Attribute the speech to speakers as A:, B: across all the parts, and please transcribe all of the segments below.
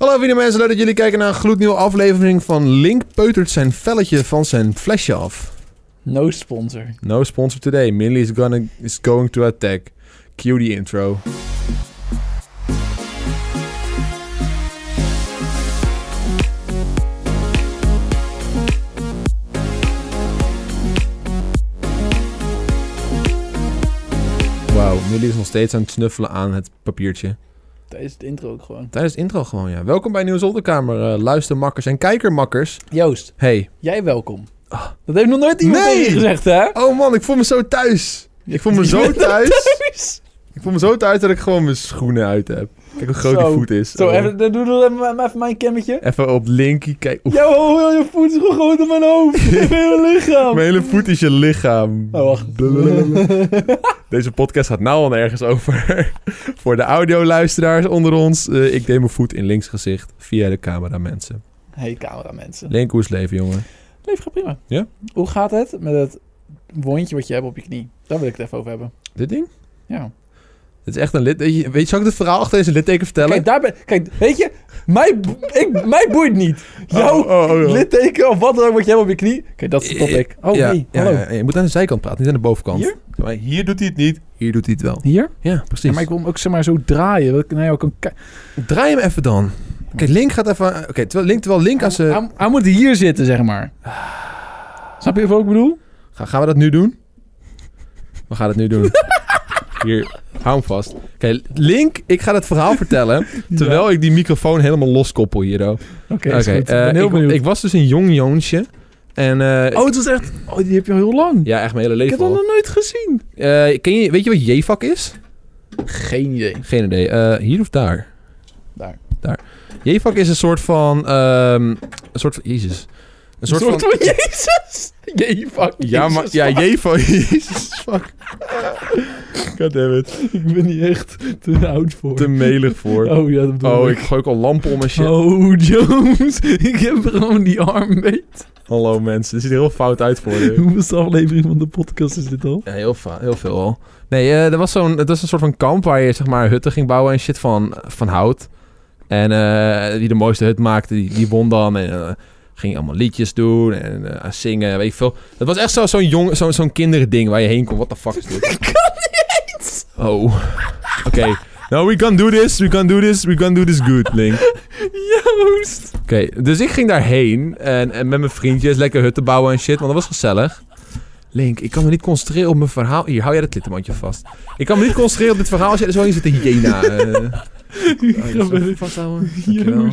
A: Hallo vrienden mensen, leuk dat jullie kijken naar een gloednieuwe aflevering van Link peutert zijn velletje van zijn flesje af.
B: No sponsor.
A: No sponsor today, Millie is, gonna, is going to attack. Cue the intro. Wauw, Millie is nog steeds aan het snuffelen aan het papiertje.
B: Tijdens het intro ook gewoon.
A: Tijdens het intro gewoon, ja. Welkom bij Nieuwe Zolderkamer, eh, luistermakkers en kijkermakkers.
B: Joost,
A: Hey.
B: jij welkom. Dat heeft nog nooit iemand
A: Ah. Nee!
B: tegen je gezegd, hè?
A: Oh man, ik voel me zo thuis. Ik voel me zo thuis. Ik voel me zo thuis dat ik gewoon mijn schoenen uit heb. Kijk hoe groot
B: Zo.
A: die voet is.
B: Zo,
A: Oh.
B: even, doe, doe, doe even, even mijn kemmetje.
A: Even op linkie kijken. Oef,
B: Jouw oh, je voet is gewoon groot op mijn hoofd. Mijn hele lichaam.
A: Mijn hele voet is je lichaam.
B: Oh, wacht.
A: Deze podcast gaat nou al nergens over. Voor de audioluisteraars onder ons. eh, ik deed mijn voet in links gezicht via de camera, mensen.
B: Hey cameramensen.
A: Link, hoe is het leven, jongen?
B: Leef gaat prima.
A: Ja?
B: Hoe gaat het met het wondje wat je hebt op je knie? Daar wil ik het even over hebben.
A: Dit ding?
B: Ja.
A: Het is echt een lid... Weet je, zal ik het verhaal achter deze litteken vertellen?
B: Kijk, daar ben, kijk, weet je, mij, bo- ik, mij boeit niet. Jouw
A: Oh, oh, oh.
B: litteken of wat dan ook wat je hebt op je knie. Kijk, dat is de topic. Oh,
A: ja,
B: hey,
A: ja,
B: hallo.
A: ja, ja. je moet aan de zijkant praten, niet aan de bovenkant.
B: Hier?
A: Zeg maar, hier doet hij het niet, hier doet hij het wel.
B: Hier?
A: Ja,
B: Ja,
A: precies.
B: maar ik wil hem ook zeg maar zo draaien. Dat ik nou ook een
A: Draai hem even dan. Oké, Link gaat even... Oké, terwijl, Link, terwijl Link aan zijn...
B: hij, moet hier zitten, zeg maar. Ah. Snap je wat ik bedoel?
A: Ga, gaan we dat nu doen? We gaan het nu doen. hier, hou hem vast. Oké, Link, ik ga het verhaal vertellen... terwijl ik die microfoon helemaal loskoppel hier, oh.
B: Oké, is goed. Ik
A: eh,
B: ben heel
A: ik,
B: benieuwd.
A: ik was dus een jong jongetje. En... eh,
B: oh, het was echt... Oh, die heb je al heel lang.
A: Ja, echt mijn hele
B: ik heb
A: leven
B: dat
A: al.
B: nog nooit gezien.
A: Eh, ken je, weet je wat J-vak is?
B: Geen idee.
A: Geen idee. Eh, hier of daar?
B: Daar.
A: Daar. Jevak is een soort van... ehm, een soort van... Jezus. Een soort, van...
B: Jezus. Jee, fuck.
A: Ja, maar...
B: Jezus,
A: Ja,
B: fuck.
A: Jevak. Jezus, fuck. Goddammit.
B: Ik ben hier echt te oud voor.
A: Te melig voor.
B: Oh, ja, dat bedoel
A: Oh, ik gooi ook al lampen om en shit.
B: Oh, Jones. Ik heb gewoon die arm mee.
A: Hallo mensen. Dit ziet er heel fout uit voor je.
B: Hoeveelste aflevering van de podcast is dit al?
A: Ja, heel, fa- heel veel al. Nee, eh, er was zo'n, het was een soort van kamp waar je zeg maar hutten ging bouwen en shit van, van hout. En eh, wie de mooiste hut maakte, die, die won dan. En eh, ging allemaal liedjes doen en eh, zingen, weet ik veel. Het was echt zo, zo'n jong, zo'n zo'n kinderding waar je heen kon. What the fuck is dit?
B: Ik kan niet eens.
A: Oh, oké. Nou, we can do this, we can do this, we can do this good, Link.
B: Joost.
A: Oké, dus ik ging daarheen en, en met mijn vriendjes lekker hutten bouwen en shit, want dat was gezellig. Link, ik kan me niet concentreren op mijn verhaal. Hier, hou jij dat klittenmandje vast. Ik kan me niet concentreren op dit verhaal als jij er zo in zit in Jena. eh. Oh, je moet het vasthouden. Dankjewel.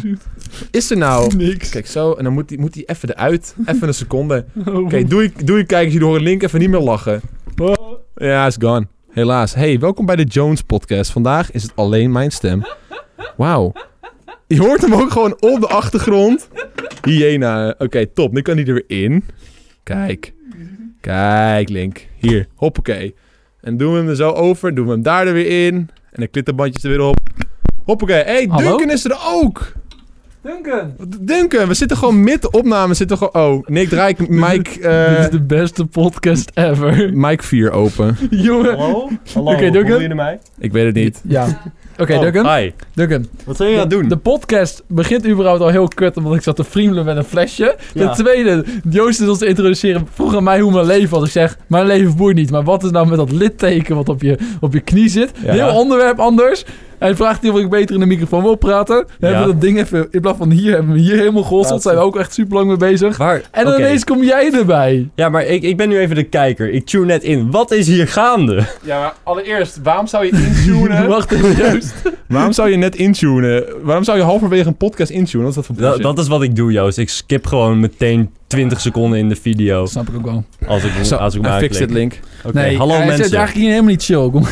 A: Is er nou...
B: Niks.
A: Kijk, zo, en dan moet die, moet die even eruit. Even een seconde. Oké,
B: Oh,
A: doe ik, doe ik kijkers, jullie horen Link even niet meer lachen.
B: oh.
A: Ja, is gone. Helaas. Hey, welkom bij de Jones Podcast. Vandaag is het alleen mijn stem. Wauw. Je hoort hem ook gewoon op de achtergrond. Hyena. Oké, top. Nu kan hij er weer in. Kijk. Kijk, Link. Hier. Hoppakee. En doen we hem er zo over. Doen we hem daar er weer in. En de klittenbandjes er weer op. Hoppakee. hey,
B: Hallo?
A: Duncan is er ook.
B: Duncan.
A: Duncan, we zitten gewoon midden opname. Zitten we gewoon... Oh, Nick, draai ik Mike,
B: Dit
A: eh
B: is de beste podcast ever.
A: Mike 4 open.
B: Jongen.
C: Hallo? Hallo,
B: Oké, Duncan.
C: horen jullie mij?
A: Ik weet het niet.
B: Ja. Oké,
C: Oh,
B: Duncan.
C: Hi.
B: Duncan.
C: Wat zijn jullie aan het doen?
B: De podcast begint überhaupt al heel kut, omdat ik zat te friemelen met een flesje.
C: Ja.
B: Ten tweede, Joost is ons te introduceren. Vroeg aan mij hoe mijn leven was. Ik zeg, mijn leven boeit niet. Maar wat is nou met dat litteken wat op je, op je knie zit?
A: Ja.
B: Een heel onderwerp anders. Hij vraagt niet of ik beter in de microfoon wil praten. We
C: Ja.
B: hebben dat ding even, in plaats van hier, hebben we hier helemaal gehosseld. Zijn we ook echt super lang mee bezig.
C: Waar?
B: En dan
C: Oké.
B: ineens kom jij erbij.
C: Ja, maar ik, ik ben nu even de kijker. Ik tune net in. Wat is hier gaande?
A: Ja, maar allereerst, waarom zou je
B: Wacht even, Joost.
A: Waarom zou je net intunen? Waarom zou je halverwege een podcast intunen? Wat is dat voor
C: Dat,
A: bullshit?
C: dat is wat ik doe, Joost. Ik skip gewoon meteen 20 seconden in de video.
B: Dat snap ik ook wel.
C: Als ik,
A: Zo,
C: als ik
A: hij
C: maar
A: fixt dit,
C: aanklik.
A: Link.
C: Oké, hallo
B: hij
C: mensen.
B: zit eigenlijk hier helemaal niet chill. Kom.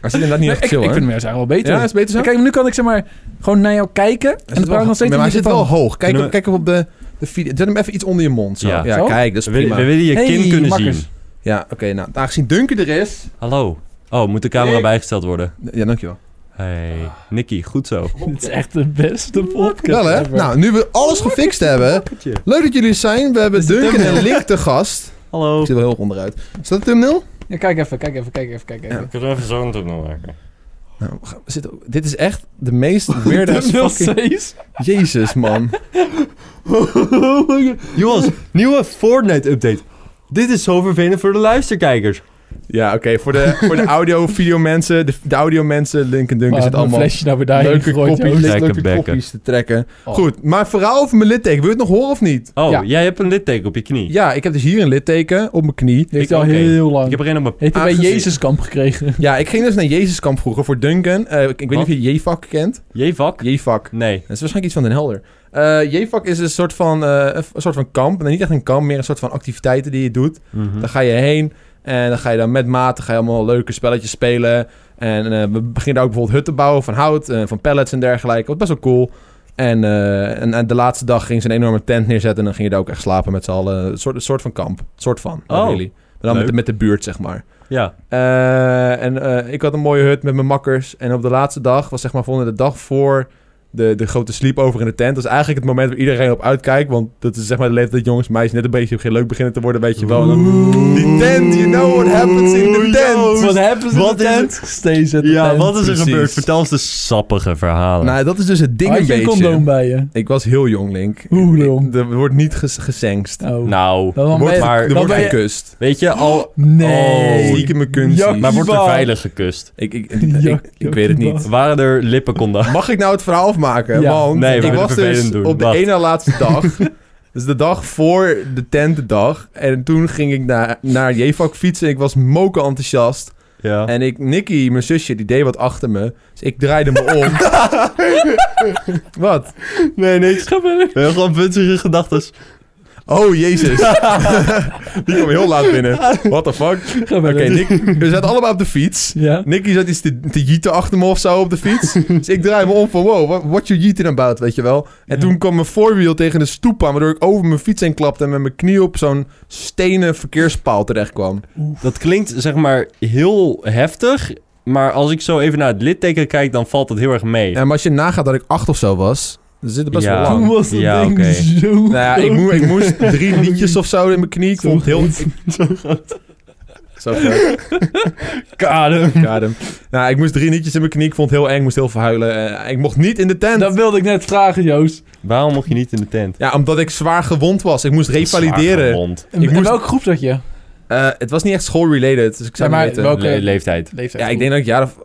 A: Hij zit inderdaad niet echt
B: ik,
A: chill,
B: ik
A: hè?
B: vind hem juist eigenlijk wel beter.
A: Ja, is beter zo?
B: Kijk, nu kan ik zeg maar gewoon naar jou kijken. En dan praat ik nog steeds
A: maar hij zit wel
B: microfoon.
A: hoog. Kijk,
C: Kunnen
A: op- kijk op de, de video. Zet hem even iets onder je mond. Zo. Ja,
C: Ja.
B: Zo?
A: kijk, dat is
C: We, willen-
A: prima.
C: we willen je
B: Hey,
C: kin kunnen
B: makkers.
C: zien.
A: Ja, oké. nou, aangezien Duncan er is...
C: Hallo. Oh, moet de camera
A: Nick.
C: bijgesteld worden?
A: Ja, dankjewel.
C: Hey, Nicky, goed zo.
B: Dit is echt de beste podcast.
A: Wel, hè?
B: ever.
A: Nou, nu we alles gefixt hebben... Leuk dat jullie er zijn. We hebben
B: Is het
A: Duncan
B: thumbnail?
A: en Link te gast.
C: Hallo.
A: Ik zit wel heel erg onderuit. Is dat het thumbnail?
B: Ja, kijk even, kijk even, kijk even, kijk even.
C: Ik wil even zo'n doen maken.
A: Nou, we gaan- we zitten, dit is echt de meest weird
B: De
A: ass fucking...
B: Milcees.
A: Jezus, man.
C: Jongens, nieuwe Fortnite-update. Dit is zo vervelend voor de luisterkijkers.
A: Ja, oké. voor de, voor de audio, video mensen, de, de audio mensen, Lincoln Dunk,
B: Maar
A: er zitten
B: een
A: allemaal
B: Ah, flesje naar beneden
A: leuke
B: gegooid.
A: kopjes,
B: Joost.
C: Lekker
A: leuke
C: bekken.
A: kopjes te trekken.
B: Oh.
A: Goed, maar verhaal over mijn litteken. Wil je het nog horen of niet?
C: Oh,
B: Ja.
C: jij hebt een litteken op je knie.
A: Ja, ik heb dus hier een litteken op mijn knie.
B: Die heeft
C: Ik
B: al
C: ook één.
B: heel
C: Ik
B: lang.
C: heb er een op mijn...
B: Heeft hij bij
A: aangezien-
B: Jezuskamp gekregen.
A: Ja, ik ging dus naar Jezuskamp vroeger voor Duncan. Eh, ik, ik weet niet
C: Wat?
A: of je J-vak kent.
C: J-vak?
A: J-vak.
C: Nee.
A: Dat is waarschijnlijk iets van Den Helder. Eh J-vak is een soort van, eh, een soort van kamp. Nee, niet echt een kamp, meer een soort van activiteiten die je doet.
C: Mhm.
A: Dan ga je heen en dan ga je dan met maten ga je allemaal leuke spelletjes spelen. En eh, we beginnen daar ook bijvoorbeeld hutten bouwen van hout, eh, van pallets en dergelijke. Wat best wel cool. En, eh, en, en de laatste dag gingen ze een enorme tent neerzetten en dan ging je daar ook echt slapen met z'n allen. Een soort, een soort van kamp. Een soort van. not
C: Oh,
A: really. Maar dan met de,
C: leuk.
A: met de buurt, zeg maar.
C: Ja.
A: Eh, en eh, ik had een mooie hut met mijn makkers. En op de laatste dag, was zeg maar volgende de dag voor de, de grote sleepover in de tent. Dat is eigenlijk het moment waar iedereen op uitkijkt. Want dat is zeg maar de leeftijd dat jongens en meisjes net een beetje geen leuk beginnen te worden, weet je wel. En dan- Die tent, you know what happens in the tent.
B: Wat hebben ze
C: Wat
B: in de
C: is
B: tent? Steeds in de
C: Ja,
B: tent.
C: wat is er
A: precies.
C: gebeurd? Vertel eens de sappige verhalen.
A: Nou, dat is dus het ding
B: Had
A: een
B: je een
A: beetje.
B: condoom bij je?
A: Ik was heel jong, Link.
B: Hoe
A: Ik-
B: jong?
A: Er wordt niet ges gesengst.
B: Oh.
C: Nou,
A: Er
B: Dan
A: wordt,
B: ben je-
A: maar, er
B: dan
A: wordt
B: ben je-
A: gekust.
C: weet je, al...
B: Nee.
A: Oh, stiekem een kunstje.
B: Ja,
C: Maar wordt er
B: Iba.
C: veilig gekust?
A: Ik, ik, ik, ik, ik weet het niet.
C: Waren er lippencondoms?
A: Mag ik nou het verhaal afmaken?
B: Ja.
A: Want
C: Nee, we
A: ik
C: willen
A: was dus
C: vervelend doen.
A: op de
C: Wacht.
A: ene laatste dag. dus de dag voor de tentendag. En toen ging ik naar, naar Jevak fietsen. Ik was moken enthousiast.
C: Ja.
A: En ik, Nicky, mijn zusje, die deed wat achter me. Dus ik draaide me om. wat?
C: Nee, niks.
B: Ga verder.
C: We hebben gewoon dus puntige gedachten.
A: Oh, jezus. die kwam heel laat binnen. What the fuck?
B: Ga
A: Oh, Oké, Nou,
B: verder.
A: Nick, we zaten allemaal op de fiets.
B: Ja.
A: Nicky zat iets te, te jieten achter me of zo op de fiets. dus ik draai me om van, wow, what, what you yeeting about, weet je wel. En
B: Ja.
A: toen kwam mijn voorwiel tegen de stoep aan, waardoor ik over mijn fiets heen klapte... en met mijn knie op zo'n stenen verkeerspaal terecht kwam.
C: Dat klinkt zeg maar heel heftig. Maar als ik zo even naar het litteken kijk, dan valt dat heel erg mee.
A: En als je nagaat dat ik acht of zo was, dan zit het best
C: Ja.
A: wel
B: Toen
A: lang.
B: was dat
C: Ja,
B: ding
C: oké.
B: zo
A: Nou ja, ik, moe- ik moest drie liedjes of zo in mijn knie. Ik
B: Zo
A: vond het heel...
B: goed.
A: Zo groot,
C: Kadem.
A: kadem. Nou, ik moest drie liedjes in mijn knie. Ik vond het heel eng, moest heel veel huilen. Eh, ik mocht niet in de tent.
B: Dat wilde ik net vragen, Joost.
C: Waarom mocht je niet in de tent?
A: Ja, omdat ik zwaar gewond was. Ik moest
C: Zwaar
A: revalideren.
C: gewond.
B: In,
A: Ik
B: in
A: moest-
B: welke groep zat je?
A: Eh, het was niet echt school-related, dus ik zou
B: Ja,
A: niet
B: maar
A: weten.
B: welk- Oké.
C: Le- leeftijd.
B: Leeftijd.
A: Ja, ik denk dat ik een jaar of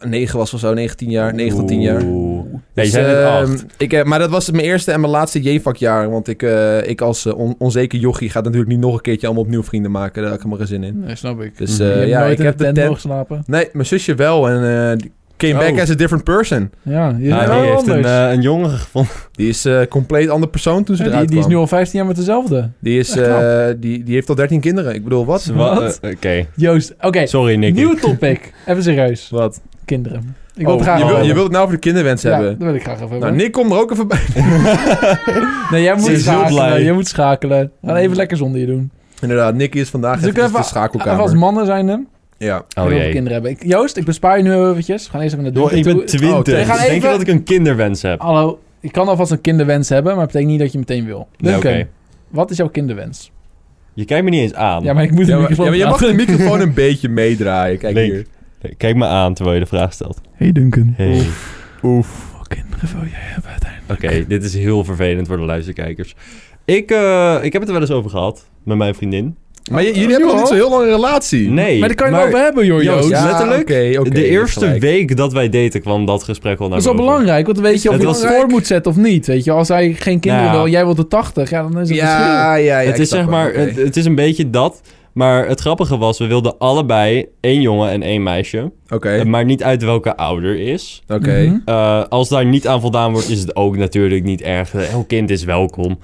A: eh, negen was of zo, 19 jaar, 19 jaar.
C: Oeh. Ja, je
A: Dus,
C: zei net
A: ehm,
C: acht.
A: ik, eh, maar dat was mijn eerste en mijn laatste J-vakjaar. Want ik, eh, ik als eh, on- onzeker jochie ga natuurlijk niet nog een keertje allemaal opnieuw vrienden maken. Daar heb ik helemaal geen zin in.
B: Nee, snap ik.
A: Dus
C: Mhm.
A: eh,
B: Je hebt
A: ja,
B: nooit
A: ik
B: in
A: heb
B: de tent
A: tent...
B: mogen slapen.
A: Nee, mijn zusje wel. En eh, die came
C: Oh.
A: back as a different person.
B: Ja, je
C: Nou,
B: bent
C: die
B: wel
C: heeft een,
B: anders.
C: eh, een jongen gevonden.
A: Die is eh compleet andere persoon toen ze
B: Ja, die,
A: eruit
B: die is nu
A: kwam.
B: al 15 jaar met dezelfde.
A: Die, is,
B: echt knap.
A: eh, die, die heeft al 13 kinderen. Ik bedoel, wat?
C: Wa-
B: Wat?
C: eh, Oké.
B: Joost, oké.
C: Sorry, Nicky.
B: Nieuw topic. Even serieus.
A: Wat? Oh,
B: Kinderen. Ik wil het graag
A: je, wil,
B: over
A: je
B: hebben.
A: wilt het nou over de kinderwens
B: ja,
A: hebben.
B: dat wil ik graag even
A: Nou,
B: hebben.
A: Nick, kom er ook even bij.
B: nee, jij moet
C: Ze is heel
B: schakelen.
C: blij.
B: Jij moet schakelen. We gaan even lekker zonder je doen.
A: Inderdaad, Nicky is vandaag
B: Dus ik
A: even
B: even-
A: de
B: Even als
A: schakelkamer.
B: mannen zijn hem.
A: Ja.
C: Oh jee.
B: kinderen hebben. Ik, Joost, ik bespaar je nu eventjes. We gaan eerst even naar de
C: Joh, ik ben
A: Oh, we
C: twintig.
B: gaan
C: Denk je
B: even-
C: dat ik een kinderwens heb?
B: Hallo, ik kan alvast een kinderwens hebben, maar dat betekent niet dat je meteen wil.
C: Nee,
B: Duncan,
C: Oké.
B: wat is jouw kinderwens?
C: Je kijkt me niet eens aan.
B: Ja, maar ik moet
A: Ja,
B: de
A: maar, ja,
B: microfoon
A: maar je mag
B: praten.
A: de microfoon een beetje meedraaien. Kijk
C: Link.
A: hier.
C: Eh, Kijk me aan terwijl je de vraag stelt.
B: Hey Duncan.
C: Hey.
A: Oef.
B: Hoeveel kinderen wil jij hebben uiteindelijk?
C: Oké, dit is heel vervelend voor de luisterkijkers. Ik, eh, ik heb het er wel eens over gehad met mijn vriendin.
A: Maar j-
B: Oh,
A: jullie hebben nog niet zo heel lang een relatie.
C: Nee,
B: maar daar kan je het over hebben, joh, Joost.
C: Joost,
A: Ja,
C: letterlijk.
A: oké, oké, je
C: de
A: hebt
C: eerste
A: gelijk.
C: week dat wij daten kwam dat gesprek al naar
B: Dat is wel
C: boven.
B: belangrijk, want dan weet je of
C: Het
B: je het
C: was-
B: voor moet zetten of niet. Weet je, als hij geen kinderen
C: Nou.
B: wil, jij wilt de 80, ja, dan is het verschil.
A: Ja, ja, ja.
C: het
A: ik
C: is
A: snap
C: zeg
A: hem,
C: maar,
A: oké.
C: het, het is een beetje dat. Maar het grappige was, we wilden allebei één jongen en één meisje.
A: Oké,
C: Maar niet uit welke ouder is.
A: oké.
B: Mhm.
C: Eh, als daar niet aan voldaan wordt, is het ook natuurlijk niet erg. Elk kind is welkom.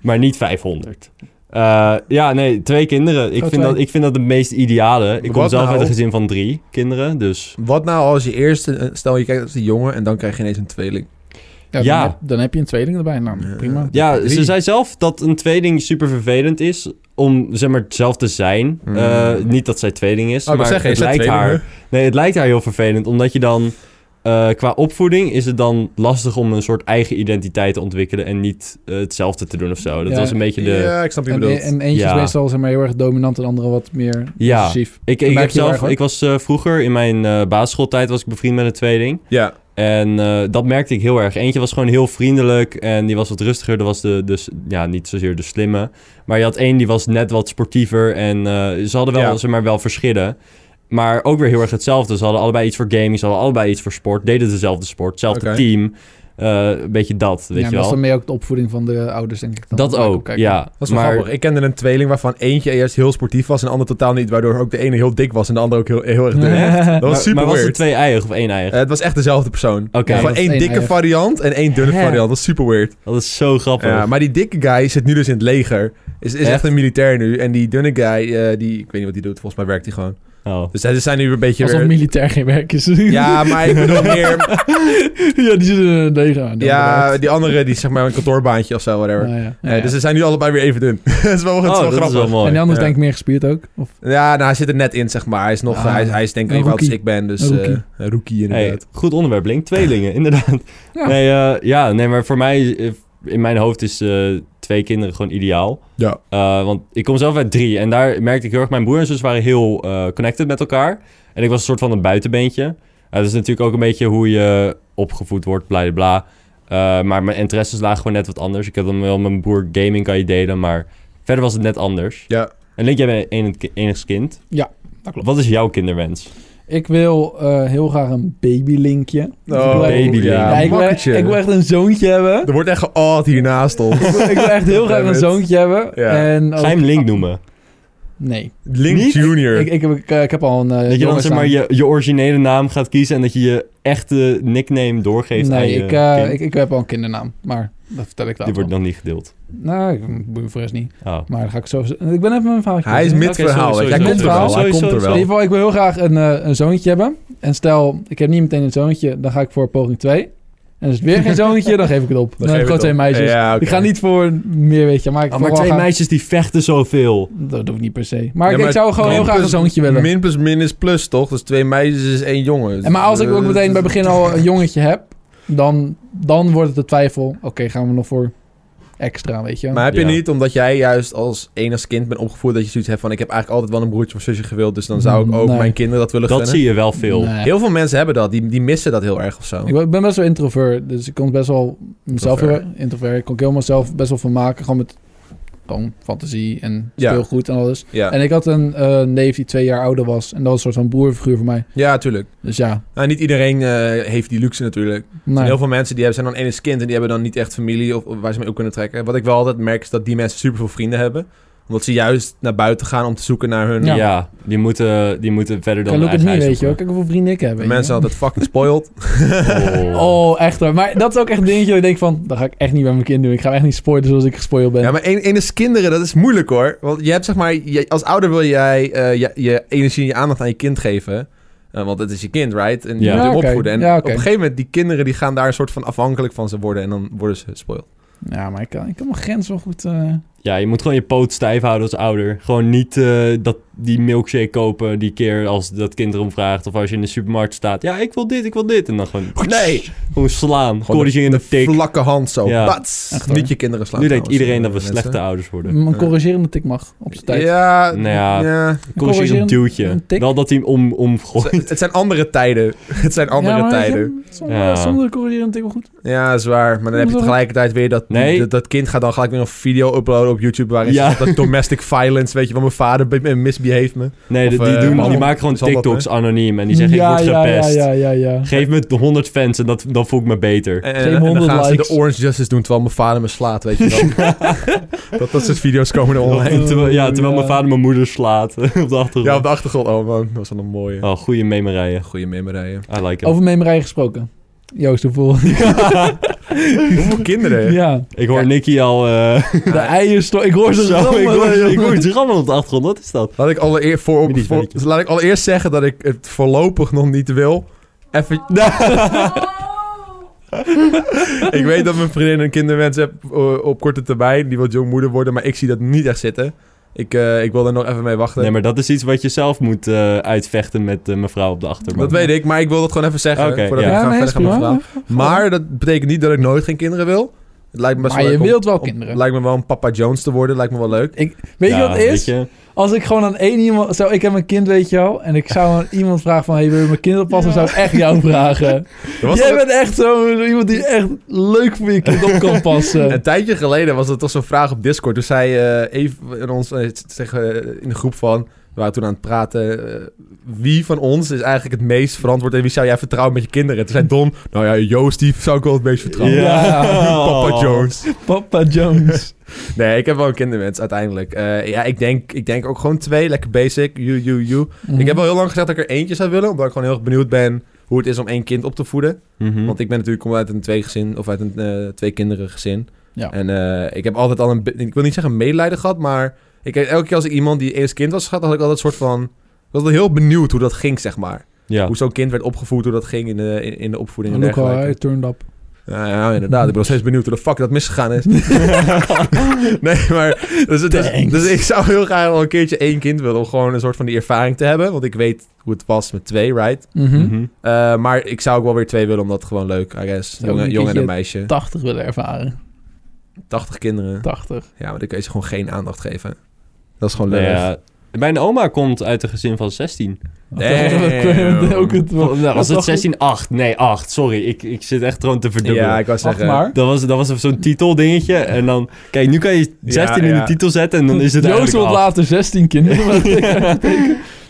C: Maar niet 500. Eh, ja, nee, twee kinderen. Ik,
B: Oh,
C: vind
B: twee.
C: dat, ik vind dat de meest ideale. Ik kom
A: Wat
C: zelf
A: nou?
C: uit een gezin van drie kinderen, dus...
A: Wat nou als je eerste... eh, Stel, je kijkt als een jongen en dan krijg je ineens een tweeling.
B: Ja, dan,
C: Ja.
B: Heb, dan heb je een tweeling erbij. Nou,
A: Ja.
B: prima.
C: Ja,
A: Drie.
C: ze zei zelf dat een tweeling super vervelend is om zeg maar zelf te zijn.
A: Mm.
C: Eh, niet dat zij tweeling is,
A: Oh, ik
C: maar
A: wil zeggen,
C: het
A: is dat
C: lijkt
A: tweeling,
C: haar. Nee, het lijkt haar heel vervelend, omdat je dan eh, qua opvoeding is het dan lastig om een soort eigen identiteit te ontwikkelen en niet eh, hetzelfde te doen of zo. Dat
B: Ja,
C: was een beetje de...
A: Ja, ik snap je
B: En,
A: bedoelt.
B: en eentje
C: Ja.
B: is meestal zeg maar, heel erg dominant en andere wat meer
C: Ja.
B: obsessief.
C: Ik,
B: merk
C: ik, heb
B: je heel
C: zelf,
B: erg, hoor.
C: ik was eh, vroeger in mijn eh basisschooltijd was ik bevriend met een tweeling.
A: Ja,
C: En eh, dat merkte ik heel erg. Eentje was gewoon heel vriendelijk en die was wat rustiger. Dat was de, dus, ja, niet zozeer de slimme. Maar je had één die was net wat sportiever en eh, ze hadden wel,
A: Ja.
C: zeg maar, wel verschillen. Maar ook weer heel erg hetzelfde. Ze hadden allebei iets voor gaming, ze hadden allebei iets voor sport. Deden dezelfde sport, hetzelfde
A: Oké.
C: team. Eh, een beetje dat, weet
B: ja,
C: je
B: dat is
C: wel.
B: dan mee ook de opvoeding van de ouders, denk ik. Dan
C: Dat
B: Waar ik op
C: ook,
B: kijk.
C: ja.
A: dat is wel
C: maar,
A: grappig. Ik kende een tweeling waarvan eentje eerst heel sportief was en de ander totaal niet. Waardoor ook de ene heel dik was en de andere ook heel, heel erg dun. Dat was
C: maar,
A: super
C: maar was het
A: weird.
C: twee eieren of één eier?
A: Eh, het was echt dezelfde persoon.
C: Oké.
A: Gewoon
B: Ja, dat is
A: één
B: één
A: dikke
B: eigen.
A: variant en één dunne
B: Hè?
A: variant. Dat is super weird.
C: Dat is zo grappig.
A: Ja, maar die dikke guy zit nu dus in het leger. Is, is echt?
C: Echt?
A: een militair nu. En die dunne guy, eh, die, ik weet niet wat hij doet. Volgens mij werkt hij gewoon.
C: Oh.
A: Dus ze zijn nu een beetje
B: Alsof
A: weer...
B: militair geen werk is.
A: Ja, maar ik bedoel meer...
B: ja, die zitten er tegen aan.
A: ja, die andere, die is zeg maar een kantoorbaantje of zo, whatever.
B: Nou ja.
A: Eh, dus ze zijn nu allebei weer even dun. dat is wel, dat is wel
C: Oh, dat
A: grappig.
C: is wel mooi.
B: en die anders
A: Ja.
B: denk ik meer gespierd ook. Of,
A: Ja, nou, hij zit er net in, zeg maar. Hij is nog...
B: Ah,
A: hij, is- hij is denk ik
B: een
A: even oud als
B: rookie.
A: ik ben. Dus
B: Een
A: eh,
B: rookie.
A: een rookie
C: Hey,
A: inderdaad.
C: goed onderwerp, Link. Tweelingen, inderdaad.
B: Ja.
C: Nee, eh, ja, nee, maar voor mij, eh, in mijn hoofd is eh, twee kinderen gewoon ideaal.
A: Ja.
C: Eh, want ik kom zelf uit drie en daar merkte ik heel erg, mijn broer en zus waren heel eh, connected met elkaar. En ik was een soort van een buitenbeentje. Eh, dat is natuurlijk ook een beetje hoe je opgevoed wordt, bla bla bla. Eh, maar mijn interesses lagen gewoon net wat anders. Ik heb dan wel mijn broer gaming kan je delen, maar verder was het net anders.
A: Ja.
C: En Link, jij bent een enigst kind.
B: Ja, dat klopt.
C: Wat is jouw kinderwens?
B: ik wil eh, heel graag een babylinkje. ik wil, echt-
C: baby.
A: Oh, ja,
B: ja, ik, wil, echt-
A: makkertje.
B: ik wil echt een zoontje hebben.
A: Er wordt echt geaald hiernaast ons.
B: ik, wil, ik wil echt heel graag
A: Damn
B: een
A: it.
B: zoontje hebben.
A: Ja.
B: En ook-
C: Ga je hem Link noemen?
B: Nee.
A: Link
C: Niet?
A: Junior.
B: Ik, ik, heb, ik, eh, ik heb al een. eh,
C: Dat je dan
B: jongen
C: zeg maar
B: staan.
C: je, je originele naam gaat kiezen en dat je je echte nickname doorgeeft aan
B: Nee,
C: je
B: ik, eh,
C: kind?
B: ik, ik heb al een kindernaam. Maar dat vertel ik
C: Die
B: later.
C: wordt
B: wel.
C: nog niet gedeeld.
B: Nou, ik boeien voor eens niet.
C: Oh.
B: Maar dan ga ik zo. Ik ben even mijn verhaaltje.
A: hij is
B: kwijt.
A: mid-verhaal.
C: Oké,
A: Hij
B: sowieso,
A: komt er wel. Hij
C: sowieso,
A: komt er
C: sowieso.
B: In
A: wel.
B: ieder geval, ik wil heel graag een, eh, een zoontje hebben. En stel, ik heb niet meteen een zoontje, dan ga ik voor poging 2. En is het weer geen zoontje, dan geef ik het op. Dan,
A: geef
B: heb ik
A: het
B: gewoon
A: op.
B: twee meisjes.
A: Ja, oké.
B: Ik ga niet voor meer, weet je. Maar, ik
C: Ah,
B: wil
C: maar
B: wel
C: twee
B: graag-
C: meisjes die vechten zoveel.
B: Dat doe ik niet per se. Maar,
A: Ja,
B: ik-
A: maar
B: ik zou gewoon
A: min
B: heel graag een
A: plus-
B: zoontje willen.
A: Min plus min is plus, toch? Dus twee meisjes is één jongen.
B: En maar als ik ook
A: Eh,
B: meteen bij het begin al een jongetje heb, dan, dan wordt het de twijfel. Oké, gaan we nog voor extra, weet je.
A: Maar heb je
C: Ja.
A: niet, omdat jij juist als enig kind bent opgevoed, dat je zoiets hebt van: ik heb eigenlijk altijd wel een broertje of zusje gewild, dus dan zou ik ook
B: Mm, Nee.
A: mijn kinderen dat willen
C: Dat
A: gunnen?
C: zie je wel veel.
B: Nee.
A: Heel veel mensen hebben dat, die, die missen dat heel erg of zo.
B: Ik ben- ik ben best wel introvert, dus ik kon best wel mezelf
A: Introvert.
B: heel- introvert. Ik kon ik heel mezelf best wel van maken, gewoon met gewoon fantasie en
A: Ja.
B: speelgoed en alles.
A: Ja,
B: En ik had een eh, neef die twee jaar ouder was en dat was een soort van broerfiguur voor mij.
A: ja tuurlijk.
B: Dus ja,
A: Nou, niet iedereen eh, heeft die luxe natuurlijk. En
B: nou,
A: Heel veel mensen die hebben, zijn dan enig kind en die hebben dan niet echt familie of, of waar ze mee op kunnen trekken. Wat ik wel altijd merk is dat die mensen superveel vrienden hebben, omdat ze juist naar buiten gaan om te zoeken naar hun.
C: Ja.
B: Ja.
C: die, moeten, die moeten verder dan
B: kijk, look at
C: hun
B: me, weet
C: eigen
B: je wel.
C: huis
B: Kijk hoeveel vrienden ik heb, weet
A: De
B: je
A: mensen zijn
B: wel.
A: altijd fucking spoiled.
C: zoeken. Oh.
B: Oh, echt hoor. Maar dat is ook echt een dingetje waar ik denk van, dat ga ik echt niet bij mijn kind doen. Ik ga hem echt niet spoilen zoals ik gespoild ben.
A: Ja, maar en, enig kinderen, dat is moeilijk hoor. Want je hebt zeg maar, je- als ouder wil jij eh, je, je energie en je aandacht aan je kind geven. Eh, want het is je kind, right? En je
C: Ja.
A: moet
B: Ja,
A: hem
B: oké.
A: opvoeden. En
B: Ja,
A: op
B: oké.
A: een gegeven moment, die kinderen die gaan daar een soort van afhankelijk van ze worden. En dan worden ze spoiled.
B: Ja, maar ik kan, ik kan mijn grens wel goed... eh,
C: Ja, je moet gewoon je poot stijf houden als ouder. Gewoon niet eh, dat die milkshake kopen die keer als dat kind erom vraagt. Of als je in de supermarkt staat. Ja, ik wil dit, ik wil dit. En dan gewoon, nee, gewoon slaan.
A: Gewoon
C: Corrigeren in de tik.
A: Vlakke hand zo.
C: Ja.
A: Bats!
B: Echt, hoor.
A: Niet je kinderen slaan.
C: Nu denkt
A: trouwens, eh,
C: iedereen dat we
A: mensen.
C: slechte ouders worden.
B: een corrigerende tik mag op zijn tijd.
A: Ja,
C: Nou
A: ja.
C: ja. Corrigeer een
B: corrigerend- een
C: duwtje.
B: tik.
C: Wel dat hij hem om,
A: Het zijn-
C: omgooit.
A: Het zijn andere tijden. Het zijn andere
B: Ja, maar weet je,
A: tijden.
B: Zonder,
C: Ja.
B: zonder corrigerende tik wel goed.
A: Ja, is waar. Maar dan heb je
B: Hoezo?
A: tegelijkertijd weer dat,
C: Nee.
A: dat, dat kind gaat dan gelijk weer een video uploaden op YouTube waarin
C: Ja.
A: ze zegt dat domestic violence, weet je, van mijn vader be- misbeheeft me.
C: Nee,
A: Of,
C: die, die
A: eh,
C: doen,
A: man,
C: die maken gewoon
A: zal dat,
C: TikToks anoniem. En die
B: zeg
C: zeggen, ik word
B: ja, ja,
C: gepest.
B: ja, ja, ja.
C: Geef me 100 fans en dat, dan voel ik me beter.
A: En, en-
B: Geen
A: en dan
B: 100
A: gaan ze de
B: likes.
A: Orange Justice doen terwijl mijn vader me slaat, weet je wel. dat, dat soort video's komen er online.
C: En terwijl, ja, terwijl
B: Ja.
C: mijn vader mijn moeder slaat op de achtergrond.
A: Ja, op de achtergrond. Oh man, dat was dan een mooie.
C: Oh, goede memerijen.
A: Goeie memerijen.
C: I like it.
B: Over memerijen gesproken. Joost, hoeveel?
A: Hoeveel kinderen?
B: ja.
C: Ik hoor Nicky al... eh
B: De eierstof. Ik hoor ze
C: zo, ik
B: rammelen,
C: hoor,
B: jongen.
C: ik hoor iets rammelen op de achtergrond. Wat is dat?
A: Laat ik, allereerst voor,
C: Mini
A: voor-
C: spelletjes.
A: laat ik allereerst zeggen dat ik het voorlopig nog niet wil. Even, ik weet dat mijn vriendin een kinderwens heeft eh, op korte termijn. Die wil jongmoeder worden, maar ik zie dat niet echt zitten. Ik, eh, ik wil er nog even mee wachten.
C: Nee, maar dat is iets wat je zelf moet eh, uitvechten met eh, mevrouw op de achterbank.
A: Dat weet ik, maar ik wil dat gewoon even zeggen.
C: Oké,
A: voordat
C: ja.
A: ik ga,
B: nee,
A: verder
B: is
A: ga met
B: prima.
A: mijn verhaal. Maar dat betekent niet dat ik nooit geen kinderen wil. Het lijkt me best
B: Maar
A: wel
B: je
A: leuk om-
B: wilt wel
A: om-
B: kinderen.
A: Lijkt me wel om Papa Jones te worden. Lijkt me wel leuk.
B: Ik, weet je
C: Ja,
B: wat het is?
C: weet je.
B: Als ik gewoon aan één iemand... Zo, ik heb een kind, weet je wel. En ik zou aan iemand vragen van... Hey, wil je mijn kind oppassen? Zou ik echt jou vragen.
A: Er was
B: Jij
A: toch
B: bent echt zo iemand die echt leuk voor je kind op kan
A: een,
B: passen.
A: een tijdje geleden was er toch zo'n vraag op Discord. Toen zei eh even in ons eh, zeg, eh, in de groep van... We waren toen aan het praten. eh, wie van ons is eigenlijk het meest verantwoord en wie zou jij vertrouwen met je kinderen? Toen zei Don, nou ja, Joost, die zou ik wel het meest vertrouwen.
B: Ja.
A: Papa Jones.
B: Papa Jones.
A: Nee, ik heb wel een kinderwens uiteindelijk. Eh, ja, ik denk, ik denk ook gewoon twee. Lekker basic. You, you, you.
B: Mhm.
A: Ik heb al heel lang gezegd dat ik er eentje zou willen. Omdat ik gewoon heel erg benieuwd ben hoe het is om één kind op te voeden.
B: Hm.
C: Mhm.
A: Want ik ben natuurlijk kom uit een twee gezin of uit een eh, twee kinderen gezin.
B: Ja.
A: En eh, ik heb altijd al een. be- Ik wil niet zeggen medelijden gehad, maar ik, elke keer als ik iemand die eerst kind was gehad, had ik altijd een soort van. Ik was altijd heel benieuwd hoe dat ging, zeg maar.
C: Ja.
A: Hoe zo'n kind werd opgevoed, hoe dat ging in de, in, in de opvoeding en
B: Look how
A: dergelijke.
B: I turned up.
A: Ja, ja, inderdaad. Ik ben nog steeds benieuwd hoe de fuck dat misgegaan is. nee, maar... Dus, het is-
B: Thanks.
A: dus ik zou heel graag wel een keertje één kind willen... om gewoon een soort van die ervaring te hebben. Want ik weet hoe het was met twee, right?
B: Mhm.
C: Mhm.
A: Eh, maar ik zou ook wel weer twee willen, omdat gewoon leuk, I guess.
B: Zou ook
A: Jongen,
B: een
A: jongen en een
B: keertje
A: meisje.
B: 80 willen ervaren.
A: 80 kinderen.
B: 80.
A: Ja, maar dan kun je ze gewoon geen aandacht geven. Dat
B: Oh,
A: is gewoon
C: Nou
A: leuk.
C: ja, Mijn oma komt uit een gezin van 16.
A: Damn.
B: Ook het,
C: Nou, was het
B: was
C: 16? 8. Nee, 8. Sorry, ik, ik zit echt gewoon te verdubbelen.
A: Ja, ik was
B: Wacht
A: zeggen...
B: maar.
C: Dat was, dat was zo'n titeldingetje. En dan, kijk, nu kan je 16 in
A: ja.
C: de titel zetten en dan is het
B: Joost wordt
C: eigenlijk af.
B: later 16 kinderen. maar ik heb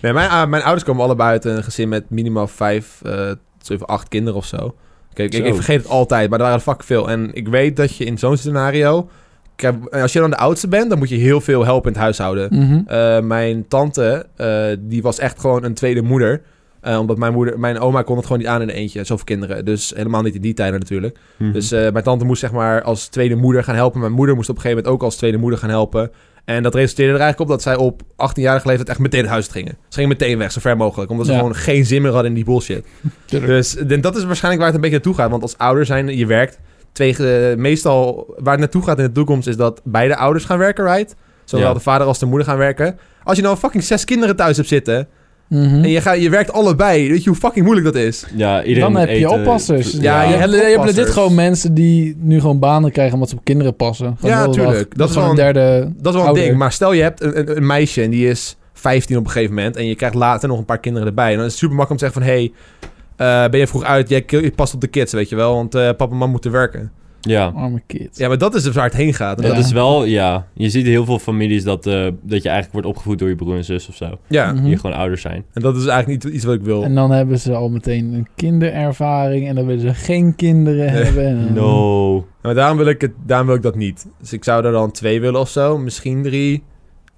A: Nee, mijn, ah, mijn ouders komen allebei uit een gezin met minimaal vijf, eh zeven, acht kinderen of zo. Kijk, ik,
C: Zo.
A: ik vergeet het altijd, maar er waren fucking veel. En ik weet dat je in zo'n scenario... Kijk, als je dan de oudste bent, dan moet je heel veel helpen in het huishouden.
B: Mhm.
A: Eh, mijn tante, eh, die was echt gewoon een tweede moeder. Eh, omdat mijn, moeder, mijn oma kon het gewoon niet aan in een eentje. Zoveel kinderen. Dus helemaal niet in die tijden natuurlijk.
C: Mhm.
A: Dus eh, mijn tante moest zeg maar als tweede moeder gaan helpen. Mijn moeder moest op een gegeven moment ook als tweede moeder gaan helpen. En dat resulteerde er eigenlijk op dat zij op 18-jarige leeftijd echt meteen het huis uit gingen. Ze gingen meteen weg, zo ver mogelijk. Omdat ze
B: Ja.
A: gewoon geen zin meer hadden in die bullshit.
B: Tuurlijk.
A: Dus eh, dat is waarschijnlijk waar het een beetje naartoe gaat. Want als ouder zijn, je werkt. Twee, eh, meestal waar het naartoe gaat in de toekomst is dat beide ouders gaan werken, right? Zowel
C: Ja.
A: de vader als de moeder gaan werken. Als je nou fucking zes kinderen thuis hebt zitten
B: Mhm.
A: en je, gaat, je werkt allebei, weet je hoe fucking moeilijk dat is?
C: Ja, iedereen eh,
B: Dan heb
C: moet
B: je
C: eten.
B: oppassers.
A: Ja,
B: je,
A: je hebt
B: hebt, je hebt
A: oppassers.
B: dit gewoon mensen die nu gewoon banen krijgen omdat ze op kinderen passen. Gewoon
A: Ja,
B: heel de dag.
A: tuurlijk. Dat is
B: gewoon een derde.
A: Dat is wel een
B: Ouder.
A: ding. Maar stel je hebt een, een, een meisje en die is 15 op een gegeven moment. En je krijgt later nog een paar kinderen erbij. En dan is het super makkelijk om te zeggen van... hey, eh, ben je vroeg uit? Jij je past op de kids, weet je wel. Want eh, papa en mam moeten werken.
C: Ja.
B: Arme kids.
A: Ja, maar dat is dus waar het heen gaat. En
C: Dat
A: dat-
B: Ja.
C: is wel, ja. Je ziet heel veel families dat, eh, dat je eigenlijk wordt opgevoed door je broer en zus of zo.
A: ja,
B: Mhm.
C: Die gewoon ouders zijn.
A: en dat is eigenlijk niet iets wat ik wil.
B: En dan hebben ze al meteen een kinderervaring en dan willen ze geen kinderen
A: Nee.
B: hebben. En,
C: No.
A: Maar daarom wil, ik het, daarom wil ik dat niet. Dus ik zou er dan twee willen of zo. Misschien drie.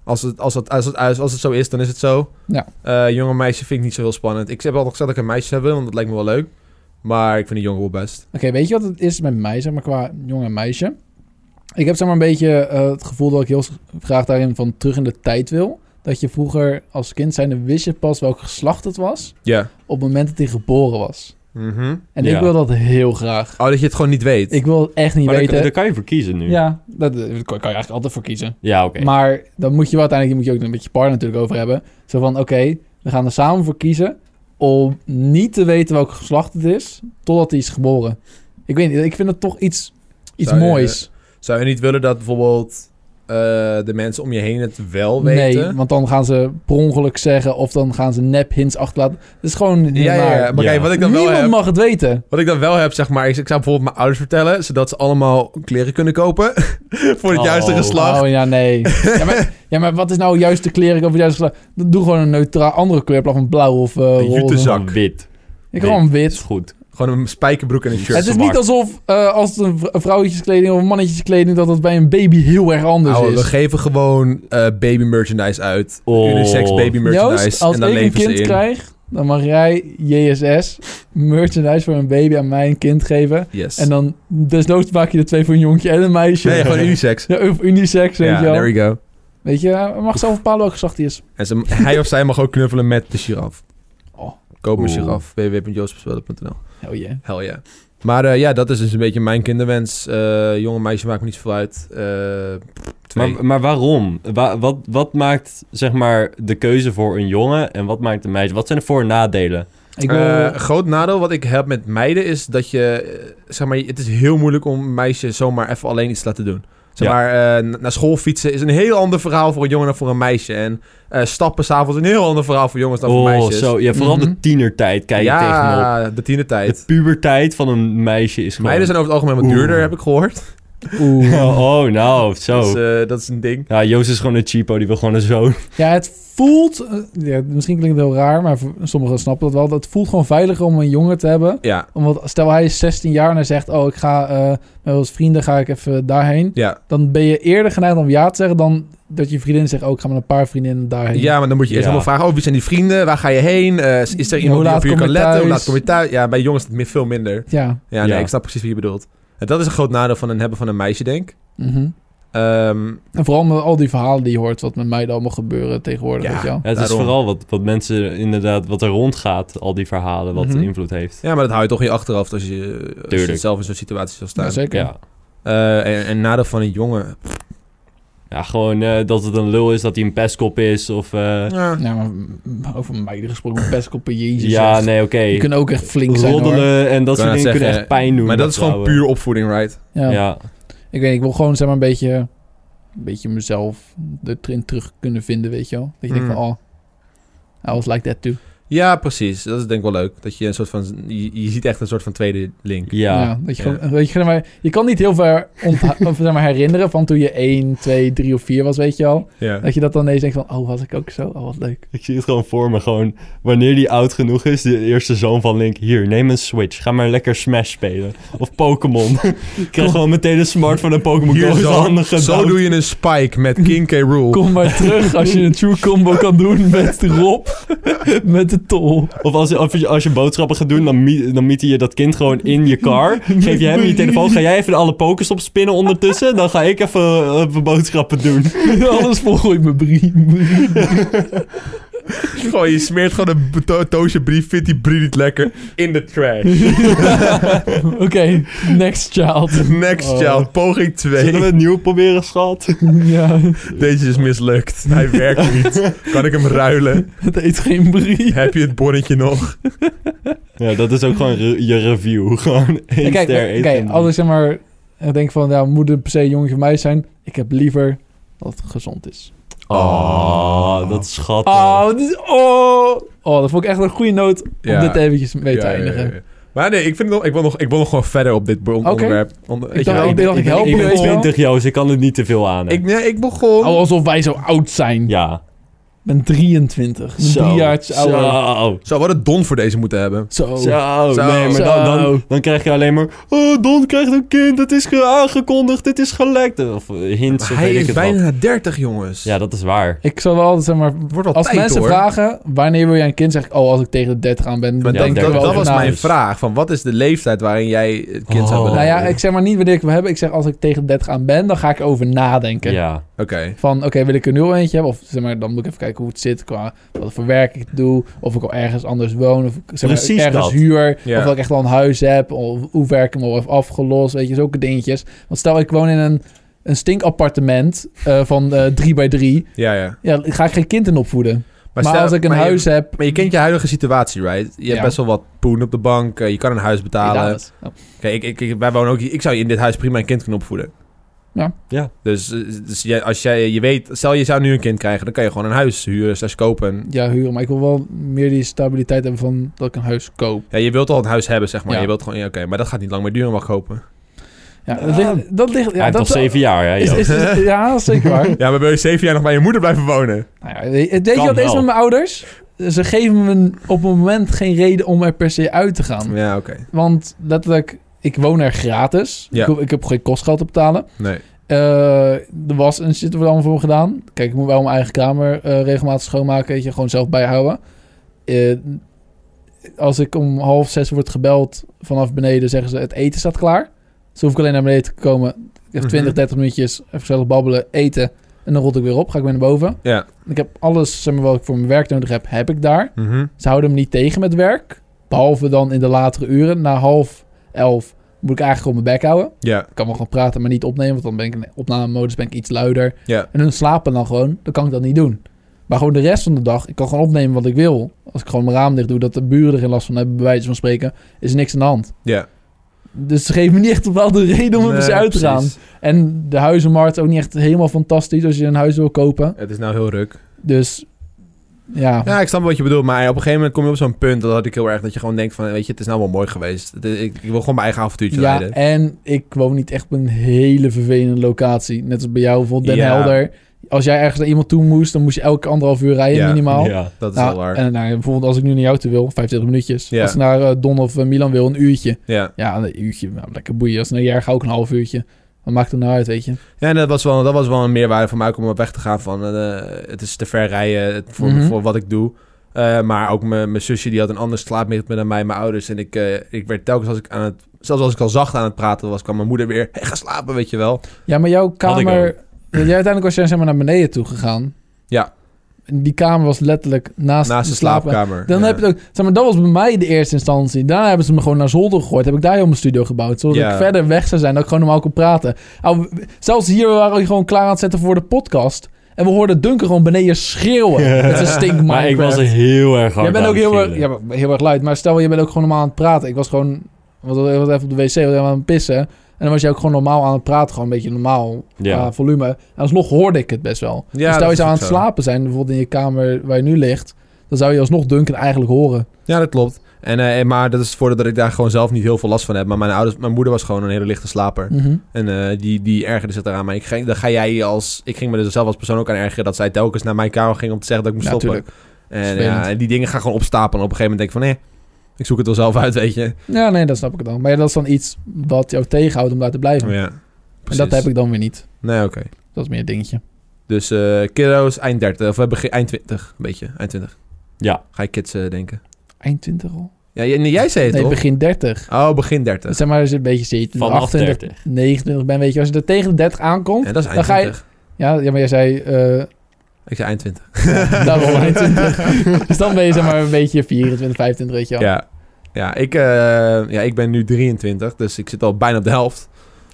A: Als het, als het, als het, als het zo is, dan is het zo.
B: Ja.
A: Eh, jonge meisje vind ik niet zo heel spannend. Ik heb altijd gezegd dat ik een meisje zou willen, want dat lijkt me wel leuk. Maar ik vind een jongen wel best.
B: Oké, weet je wat het is met mij, zeg maar, qua jongen en meisje? Ik heb zeg maar een beetje eh, het gevoel dat ik heel graag daarin van terug in de tijd wil. Dat je vroeger als kind zijnde wist je pas welk geslacht het was
A: Ja.
B: op het moment dat hij geboren was.
A: Mhm.
B: En ik
C: Ja.
B: wil dat heel graag.
A: Oh, dat je het gewoon niet weet.
B: Ik wil echt niet
C: Maar daar,
B: weten.
C: daar kan je voor kiezen nu.
B: Ja, dat, daar kan kan je eigenlijk altijd voor kiezen.
C: Ja, oké.
B: Maar dan moet je wel uiteindelijk moet je ook een beetje partner natuurlijk over hebben. Zo van, oké, we gaan er samen voor kiezen om niet te weten welk geslacht het is, totdat hij is geboren. Ik weet niet, ik vind dat toch iets, iets
A: Zou je-
B: moois.
A: Zou je niet willen dat bijvoorbeeld eh, de mensen om je heen het wel
B: nee,
A: weten?
B: want dan gaan ze per ongeluk zeggen of dan gaan ze nep hints achterlaten. Het is gewoon heel
A: Ja, ja, ja.
B: naar.
A: Maar
C: Ja.
A: kijk, wat ik dan wel
B: Niemand
A: heb...
B: mag het weten.
A: Wat ik dan wel heb, zeg maar... Ik, ik zou bijvoorbeeld mijn ouders vertellen... zodat ze allemaal kleren kunnen kopen... voor het
C: Oh.
A: juiste geslacht.
B: Oh ja, nee. ja, maar, ja, maar wat is nou juist de kleren of juist geslacht? Doe gewoon een neutraal andere kleur in plaats van blauw of eh
A: Een jute
B: roze.
A: zak.
C: Gewoon Wit.
B: Ik gewoon wit.
C: Is goed.
A: Gewoon een spijkerbroek en een shirt.
B: Het is
C: zwart.
B: niet alsof eh, als het een vr- een vrouwtjeskleding of een mannetjeskleding, dat dat bij een baby heel erg anders dus.
A: Ouwe, we
B: is.
A: geven gewoon eh, baby merchandise uit.
C: Oh.
A: Unisex baby merchandise.
B: Joost, als
A: en dan
B: ik een
A: leven
B: kind
A: ze in.
B: krijg, dan mag jij JSS merchandise voor een baby aan mijn kind geven.
A: Yes.
B: En dan desnoods maak je er twee voor een jongetje en een meisje.
A: Nee, gewoon unisex.
B: Ja, of unisex, weet
A: Ja,
B: je wel.
A: there you go.
B: Weet je, hij mag zelf bepalen welke geslacht hij is.
A: En ze, hij of zij mag ook knuffelen met de giraf.
B: Oh.
A: Koop een
C: Oeh.
A: giraf. www.joosbespelen.nl
B: Oh yeah.
A: Hell ja. Maar eh, ja, dat is dus een beetje mijn kinderwens. Eh jonge meisje maakt me niet veel uit. Eh, Twee.
C: Maar, maar waarom? Wa- wat, wat maakt zeg maar de keuze voor een jongen en wat maakt een meisje? Wat zijn de voor- en nadelen?
B: Ik wil...
A: Eh, groot nadeel wat ik heb met meiden is dat je, eh, zeg maar, het is heel moeilijk om een meisje zomaar even alleen iets te laten doen. Zeg
C: Ja.
A: maar, eh, na- naar school fietsen is een heel ander verhaal voor een jongen dan voor een meisje. En eh, stappen s'avonds een heel ander verhaal voor jongens dan voor
C: Oh,
A: meisjes.
C: zo. Ja, vooral
B: Mhm.
C: de tienertijd kijk je tegenop.
A: ja, de tiende
C: De
A: tijd.
C: puberteit van een meisje is gewoon...
A: Meiden zijn over het algemeen wat
C: Oeh.
A: duurder, heb ik gehoord.
B: Oeh.
C: Oh, oh, nou, zo.
A: Dus eh, dat is een ding.
C: Ja, Joost is gewoon een cheapo, die wil gewoon een zoon.
B: Ja, het voelt... eh, ja, misschien klinkt het heel raar, maar voor- sommigen snappen dat wel. Dat het voelt gewoon veiliger om een jongen te hebben.
A: Ja,
B: Omdat stel hij is 16 jaar en hij zegt... Oh, ik ga eh, met wat vrienden ga ik even daarheen.
A: ja.
B: Dan ben je eerder geneigd om ja te zeggen... dan dat je vriendin zegt... Oh, ik ga met een paar vriendinnen daarheen.
A: ja, maar dan moet je eerst
C: Ja.
A: allemaal vragen, oh, wie zijn die vrienden? Waar ga je heen? Eh, is- is er
B: Hoe
A: iemand die
B: laat
A: op je
B: kom
A: kan
B: je
A: letten? Hoe
B: thuis?
A: laat kom je thuis? Ja, bij jongens is het meer- veel minder.
B: Ja.
A: Ja, nee,
C: Ja.
A: ik snap precies wat je bedoelt. En dat is een groot nadeel van een hebben van een meisje, denk ik.
B: Mhm.
A: Ehm,
B: En vooral met al die verhalen die je hoort... wat met mij allemaal gebeuren tegenwoordig,
A: Ja.
B: weet je wel.
C: Ja, het
A: Daarom.
C: is vooral wat, wat mensen inderdaad, wat er rondgaat, al die verhalen, wat
A: Mhm.
C: invloed heeft.
A: ja, maar dat hou je toch in je achterhoofd als je, als je
C: Tuurlijk.
A: zelf in zo'n situatie zou
B: Ja,
A: staan.
B: zeker.
C: Ja.
A: Eh, en, en nadeel van een jongen.
C: ja, gewoon eh, dat het een lul is, dat hij een pestkop is of... eh,
A: Ja.
B: Nou, maar mm, over meiden gesproken, pestkoppen, jezus.
C: ja,
B: echt.
C: nee, oké.
B: Die kunnen ook echt flink zijn, hoor.
C: Roddelen en
A: Ik
C: dat soort
A: wou net
C: dingen kunnen
A: zeggen,
C: echt pijn doen. eh,
A: Maar dat is gewoon
C: vrouwen.
A: puur opvoeding, right?
B: Ja.
C: Ja,
B: Ik weet niet, ik wil gewoon zeg maar een beetje, een beetje mezelf erin terug kunnen vinden, weet je wel. Dat je denkt
A: Mm.
B: van, oh, I was like that too.
A: Ja, precies. Dat is denk ik wel leuk. Dat je een soort van... Je, je ziet echt een soort van tweede link.
C: ja.
B: dat je,
A: Ja.
B: gewoon, weet je, zeg maar, je kan niet heel ver ontha- of, zeg maar, herinneren van toen je 1, 2, 3 of 4 was, weet je wel.
A: Ja.
B: Dat je dat dan ineens denkt van, oh, was ik ook zo? Oh, wat leuk.
C: Ik zie het gewoon voor me. Gewoon wanneer die oud genoeg is, de eerste zoon van Link. Hier, neem een Switch. Ga maar lekker Smash spelen. Of Pokémon. Ik krijg gewoon meteen een smartphone en Pokémon Go
A: Hier
C: in de
A: zo,
C: handen
A: zo
C: gedouwd.
A: doe je een spike met King K. Rule.
B: Kom maar terug als je een true combo kan doen met Rob, met de tol.
C: Of als, je- of je, als je boodschappen gaat doen, dan, mie- dan mieten je dat kind gewoon in je car. Geef je hem je telefoon. Ga jij even alle Pokéstops spinnen ondertussen. Dan ga ik even, eh, even boodschappen doen.
B: Alles volgooit mijn brief.
A: Gewoon, je smeert gewoon een to- toosje brief, vindt die brief niet lekker. In de trash.
B: Oké, next child.
A: Next
B: Oh.
A: child, poging 2.
C: Zullen we het nieuw proberen, schat?
B: ja,
A: Deze is mislukt. Hij werkt niet. Kan ik hem ruilen?
B: het eet geen brie.
A: Heb je het bonnetje nog?
C: Ja, dat is ook gewoon re- je review. Gewoon één
B: Ja, kijk,
C: ster
B: maar-
C: één
B: kijk,
C: ster.
B: als ik zeg maar eh, denk van, ja, moet het per se een jongetje van mij zijn? Ik heb liever dat het gezond is.
C: Oh, dat is schattig.
B: Oh, dit is, oh, oh, dat vond ik echt een goede noot om
A: Ja.
B: dit eventjes mee te
A: Ja, ja,
B: eindigen.
A: ja, ja. Maar nee, ik, vind het nog, ik, wil nog, ik wil nog gewoon verder op dit on-
B: Oké.
A: onderwerp. Onder, weet je
B: dacht-
A: wel,
B: ik dacht, ik help
C: Ik
B: je,
C: ben
B: weet je wel.
C: 20, Joost. Ik kan het niet te veel aan. hè.
A: Ik, nee, ik begon...
B: Oh, alsof wij zo oud zijn.
C: Ja.
B: Ik ben 23. Ik ben
C: Zo.
B: drie jaar ouder.
C: Zo.
A: Zou wel een don voor deze moeten hebben.
B: Zo.
C: Zo.
A: Oh. Zo.
C: Nee, maar dan,
B: Zo.
C: dan, dan krijg je alleen maar... Oh, Don krijgt een kind. Het is ge- aangekondigd. Dit is gelekt. Of eh, hints of
A: hij
C: weet ik
A: is
C: het wat.
A: bijna 30, jongens.
C: Ja, dat is waar.
B: Ik zal wel altijd, zeg maar,
A: Het wordt al
B: als
A: tijd,
B: mensen
A: hoor.
B: vragen, wanneer wil jij een kind? Zeg ik, oh, als ik tegen de 30 aan ben.
A: Maar
C: Ja,
A: denk,
B: ik
A: dat,
B: wel
C: dertig.
A: dat
B: over
A: was
B: na.
A: mijn vraag. Van wat is de leeftijd waarin jij het kind zou
C: Oh.
A: willen
B: Nou ja,
A: hebben?
B: ik zeg maar niet wanneer ik wil hebben. Ik zeg als ik tegen de 30 aan ben, dan ga ik erover nadenken.
C: Ja.
A: Oké.
B: Van oké, wil ik er nu al eentje hebben? Of zeg maar, dan moet ik even kijken hoe het zit qua wat voor werk ik doe. Of ik al ergens anders woon. Of ik, zeg maar,
C: Precies
B: ergens
C: dat.
B: huur.
A: Ja.
B: Of dat ik echt al een huis heb. Of hoe werk ik hem al heb afgelost. Weet je, zulke dingetjes. Want stel ik woon in een, een stinkappartement eh, van eh, drie bij drie.
A: Ja, ja.
B: Ja, dan ga ik geen kind in opvoeden. Maar,
A: stel-
B: als ik een
A: maar je-
B: huis heb...
A: Maar je kent je huidige situatie, right? Je hebt
B: Ja.
A: best wel wat poen op de bank. eh, Je kan een huis betalen.
B: Helaas. Oh.
A: Kijk, ik, ik, wij wonen ook hier. Ik zou in dit huis prima een kind kunnen opvoeden.
B: Ja.
C: Ja.
A: Dus, eh, dus jij- als jij, je weet, stel je zou nu een kind krijgen, dan kan je gewoon een huis huren, slash kopen.
B: Ja, huren. Maar ik wil wel meer die stabiliteit hebben van dat ik een huis koop.
A: Ja, je wilt al een huis hebben, zeg maar.
B: Ja.
A: Je wilt gewoon, ja, oké, maar dat gaat niet lang meer duren, mag ik hopen.
B: Ja, dat ligt... Dat ligt ja,
C: Hij heeft
B: dat,
C: nog zeven jaar, hè,
B: is, is,
C: Joost.
B: is- ja, dat is zeker waar.
A: Ja, maar wil je zeven jaar nog bij je moeder blijven wonen?
B: Nou ja, weet weet je wat het is
C: wel.
B: met mijn ouders? Ze geven me een- op het moment geen reden om er per se uit te gaan.
A: Ja, oké.
B: Want letterlijk, ik woon er gratis.
A: Ja.
B: Ik, ho- ik heb geen kostgeld te betalen.
A: Nee.
B: Eh, er was en zitten we allemaal voor me gedaan. Kijk, ik moet wel mijn eigen kamer eh, regelmatig schoonmaken. Weet je, gewoon zelf bijhouden. Eh, als ik om half zes word gebeld vanaf beneden, zeggen ze het eten staat klaar. Dus hoef ik alleen naar beneden te komen. Even 20,
A: Mhm.
B: 30 minuutjes, even gezellig babbelen, eten. En dan rot ik weer op, ga ik weer naar boven.
A: Ja.
B: Ik heb alles zeg maar, wat ik voor mijn werk nodig heb, heb ik daar.
A: Mhm.
B: Ze houden me niet tegen met werk. Behalve dan in de latere uren, na half elf moet ik eigenlijk gewoon mijn bek houden.
A: Ja,
B: Ik kan wel gewoon praten, maar niet opnemen. Want dan ben ik in opnamemodus ben ik iets luider.
A: ja.
B: En hun slapen dan gewoon. Dan kan ik dat niet doen. Maar gewoon de rest van de dag, ik kan gewoon opnemen wat ik wil. Als ik gewoon mijn raam dicht doe, dat de buren er geen last van hebben, bij wijze van spreken, is er niks aan de hand.
A: Ja.
B: Dus ze geven me niet echt een bepaalde reden om op eens
A: Nee,
B: uit te gaan.
A: precies.
B: En de huizenmarkt ook niet echt helemaal fantastisch als je een huis wil kopen.
A: Het is nou heel ruk.
B: Dus ja.
A: Ja, ik snap wat je bedoelt, maar op een gegeven moment kom je op zo'n punt, dat had ik heel erg, dat je gewoon denkt van, weet je, het is nou wel mooi geweest. Het is- Ik, ik wil gewoon mijn eigen avontuurtje
B: Ja,
A: leiden.
B: en ik woon niet echt op een hele vervelende locatie. Net als bij jou, bijvoorbeeld Den
A: Ja.
B: Helder. Als jij ergens naar iemand toe moest, dan moest je elke anderhalf uur rijden
A: Ja,
B: minimaal.
C: Ja.
A: Dat is
B: Nou,
A: wel waar.
B: en nou, bijvoorbeeld als ik nu naar jou toe wil, 25 minuutjes.
A: Ja.
B: Als ik naar eh, Don of eh, Milan wil, een uurtje.
A: Ja.
B: Ja, een uurtje, nou, lekker boeien. Als ik naar Jerg ga, ook een half uurtje. Wat maakt het nou uit, weet je?
A: ja, en dat was, wel, dat was wel een meerwaarde voor mij ook om op weg te gaan van, eh, het is te ver rijden het- voor,
B: Mhm.
A: voor wat ik doe. Eh, maar ook mijn mijn zusje, die had een ander slaapritme dan mij, mijn ouders. En ik, eh, ik werd telkens als ik aan het, zelfs als ik al zacht aan het praten was, kwam mijn moeder weer, hey, ga slapen, weet je wel.
B: Ja, maar jouw
C: ook.
B: kamer... Ja, jij uiteindelijk was jij zeg maar naar beneden toe gegaan.
A: Ja.
B: En die kamer was letterlijk naast,
A: Naast de slaapkamer.
B: Dan
A: Ja.
B: heb je het ook, zeg maar, dat was bij mij de eerste instantie. Daarna hebben ze me gewoon naar zolder gegooid. Heb ik daar heel mijn studio gebouwd. Zodat
A: Ja.
B: ik verder weg zou zijn, dat ik gewoon normaal kon praten. Nou, w- zelfs hier waren we gewoon klaar aan het zetten voor de podcast. En we hoorden Duncan gewoon beneden schreeuwen. Met zijn stink
C: Maar ik was
B: Minecraft.
C: er heel erg hard
B: Jij bent
C: aan
B: ook heel
C: het
B: erg, ja,
C: gillen.
B: maar heel erg luid. Maar stel, je bent ook gewoon normaal aan het praten. Ik was gewoon wat, wat even op de wc, was even aan het pissen. En dan was je ook gewoon normaal aan het praten. Gewoon een beetje normaal
C: Ja.
B: qua volume. En alsnog hoorde ik het best wel.
A: Ja,
B: Dus
A: dat
B: stel je
A: is
B: zou aan
A: ook
B: het
A: zo.
B: slapen zijn, bijvoorbeeld in je kamer waar je nu ligt. Dan zou je alsnog Duncan eigenlijk horen.
A: Ja, dat klopt. En, eh, maar dat is het voordeel dat ik daar gewoon zelf niet heel veel last van heb. Maar mijn, ouders, mijn moeder was gewoon een hele lichte slaper.
B: Mhm.
A: En eh, die, die ergerde zich daaraan. Maar ik, ging- dan ga jij als, ik ging me er zelf als persoon ook aan ergeren... dat zij telkens naar mijn kamer ging om te zeggen dat ik moest stoppen.
B: Natuurlijk.
A: En,
B: Vervelend.
A: ja, en die dingen gaan gewoon opstapelen. En op een gegeven moment denk ik van... nee, ik zoek het wel zelf uit, weet je.
B: Ja, nee, dat snap ik dan. Maar ja, dat is dan iets wat jou tegenhoudt om daar te blijven.
A: Ja,
B: en dat heb ik dan weer niet.
A: Nee, oké.
B: Dat is meer een dingetje.
A: Dus eh kiddo's eind 30. Of we begin eind 20, een beetje. Eind 20.
C: Ja.
A: Ga je kids eh, denken.
B: Eind 20 al?
A: Ja, jij, nee, jij zei het
B: Nee,
A: toch?
B: begin 30.
A: Oh, begin 30.
B: Zeg maar, als je een beetje 17,
C: Vanaf
B: 28,
C: 30.
B: 29 bent, weet je. Als je er tegen de 30 aankomt.
A: Ja, dat is eind
B: Dan ga je-
A: 20.
B: Ja, ja maar jij zei... eh
A: Ik zei eind 20.
B: daarom eind 20. Dus dan ben je zeg maar een beetje 24, 25, weet je wel.
A: Ja. Ja, ik, eh, ja, ik ben nu 23, dus ik zit al bijna op de helft.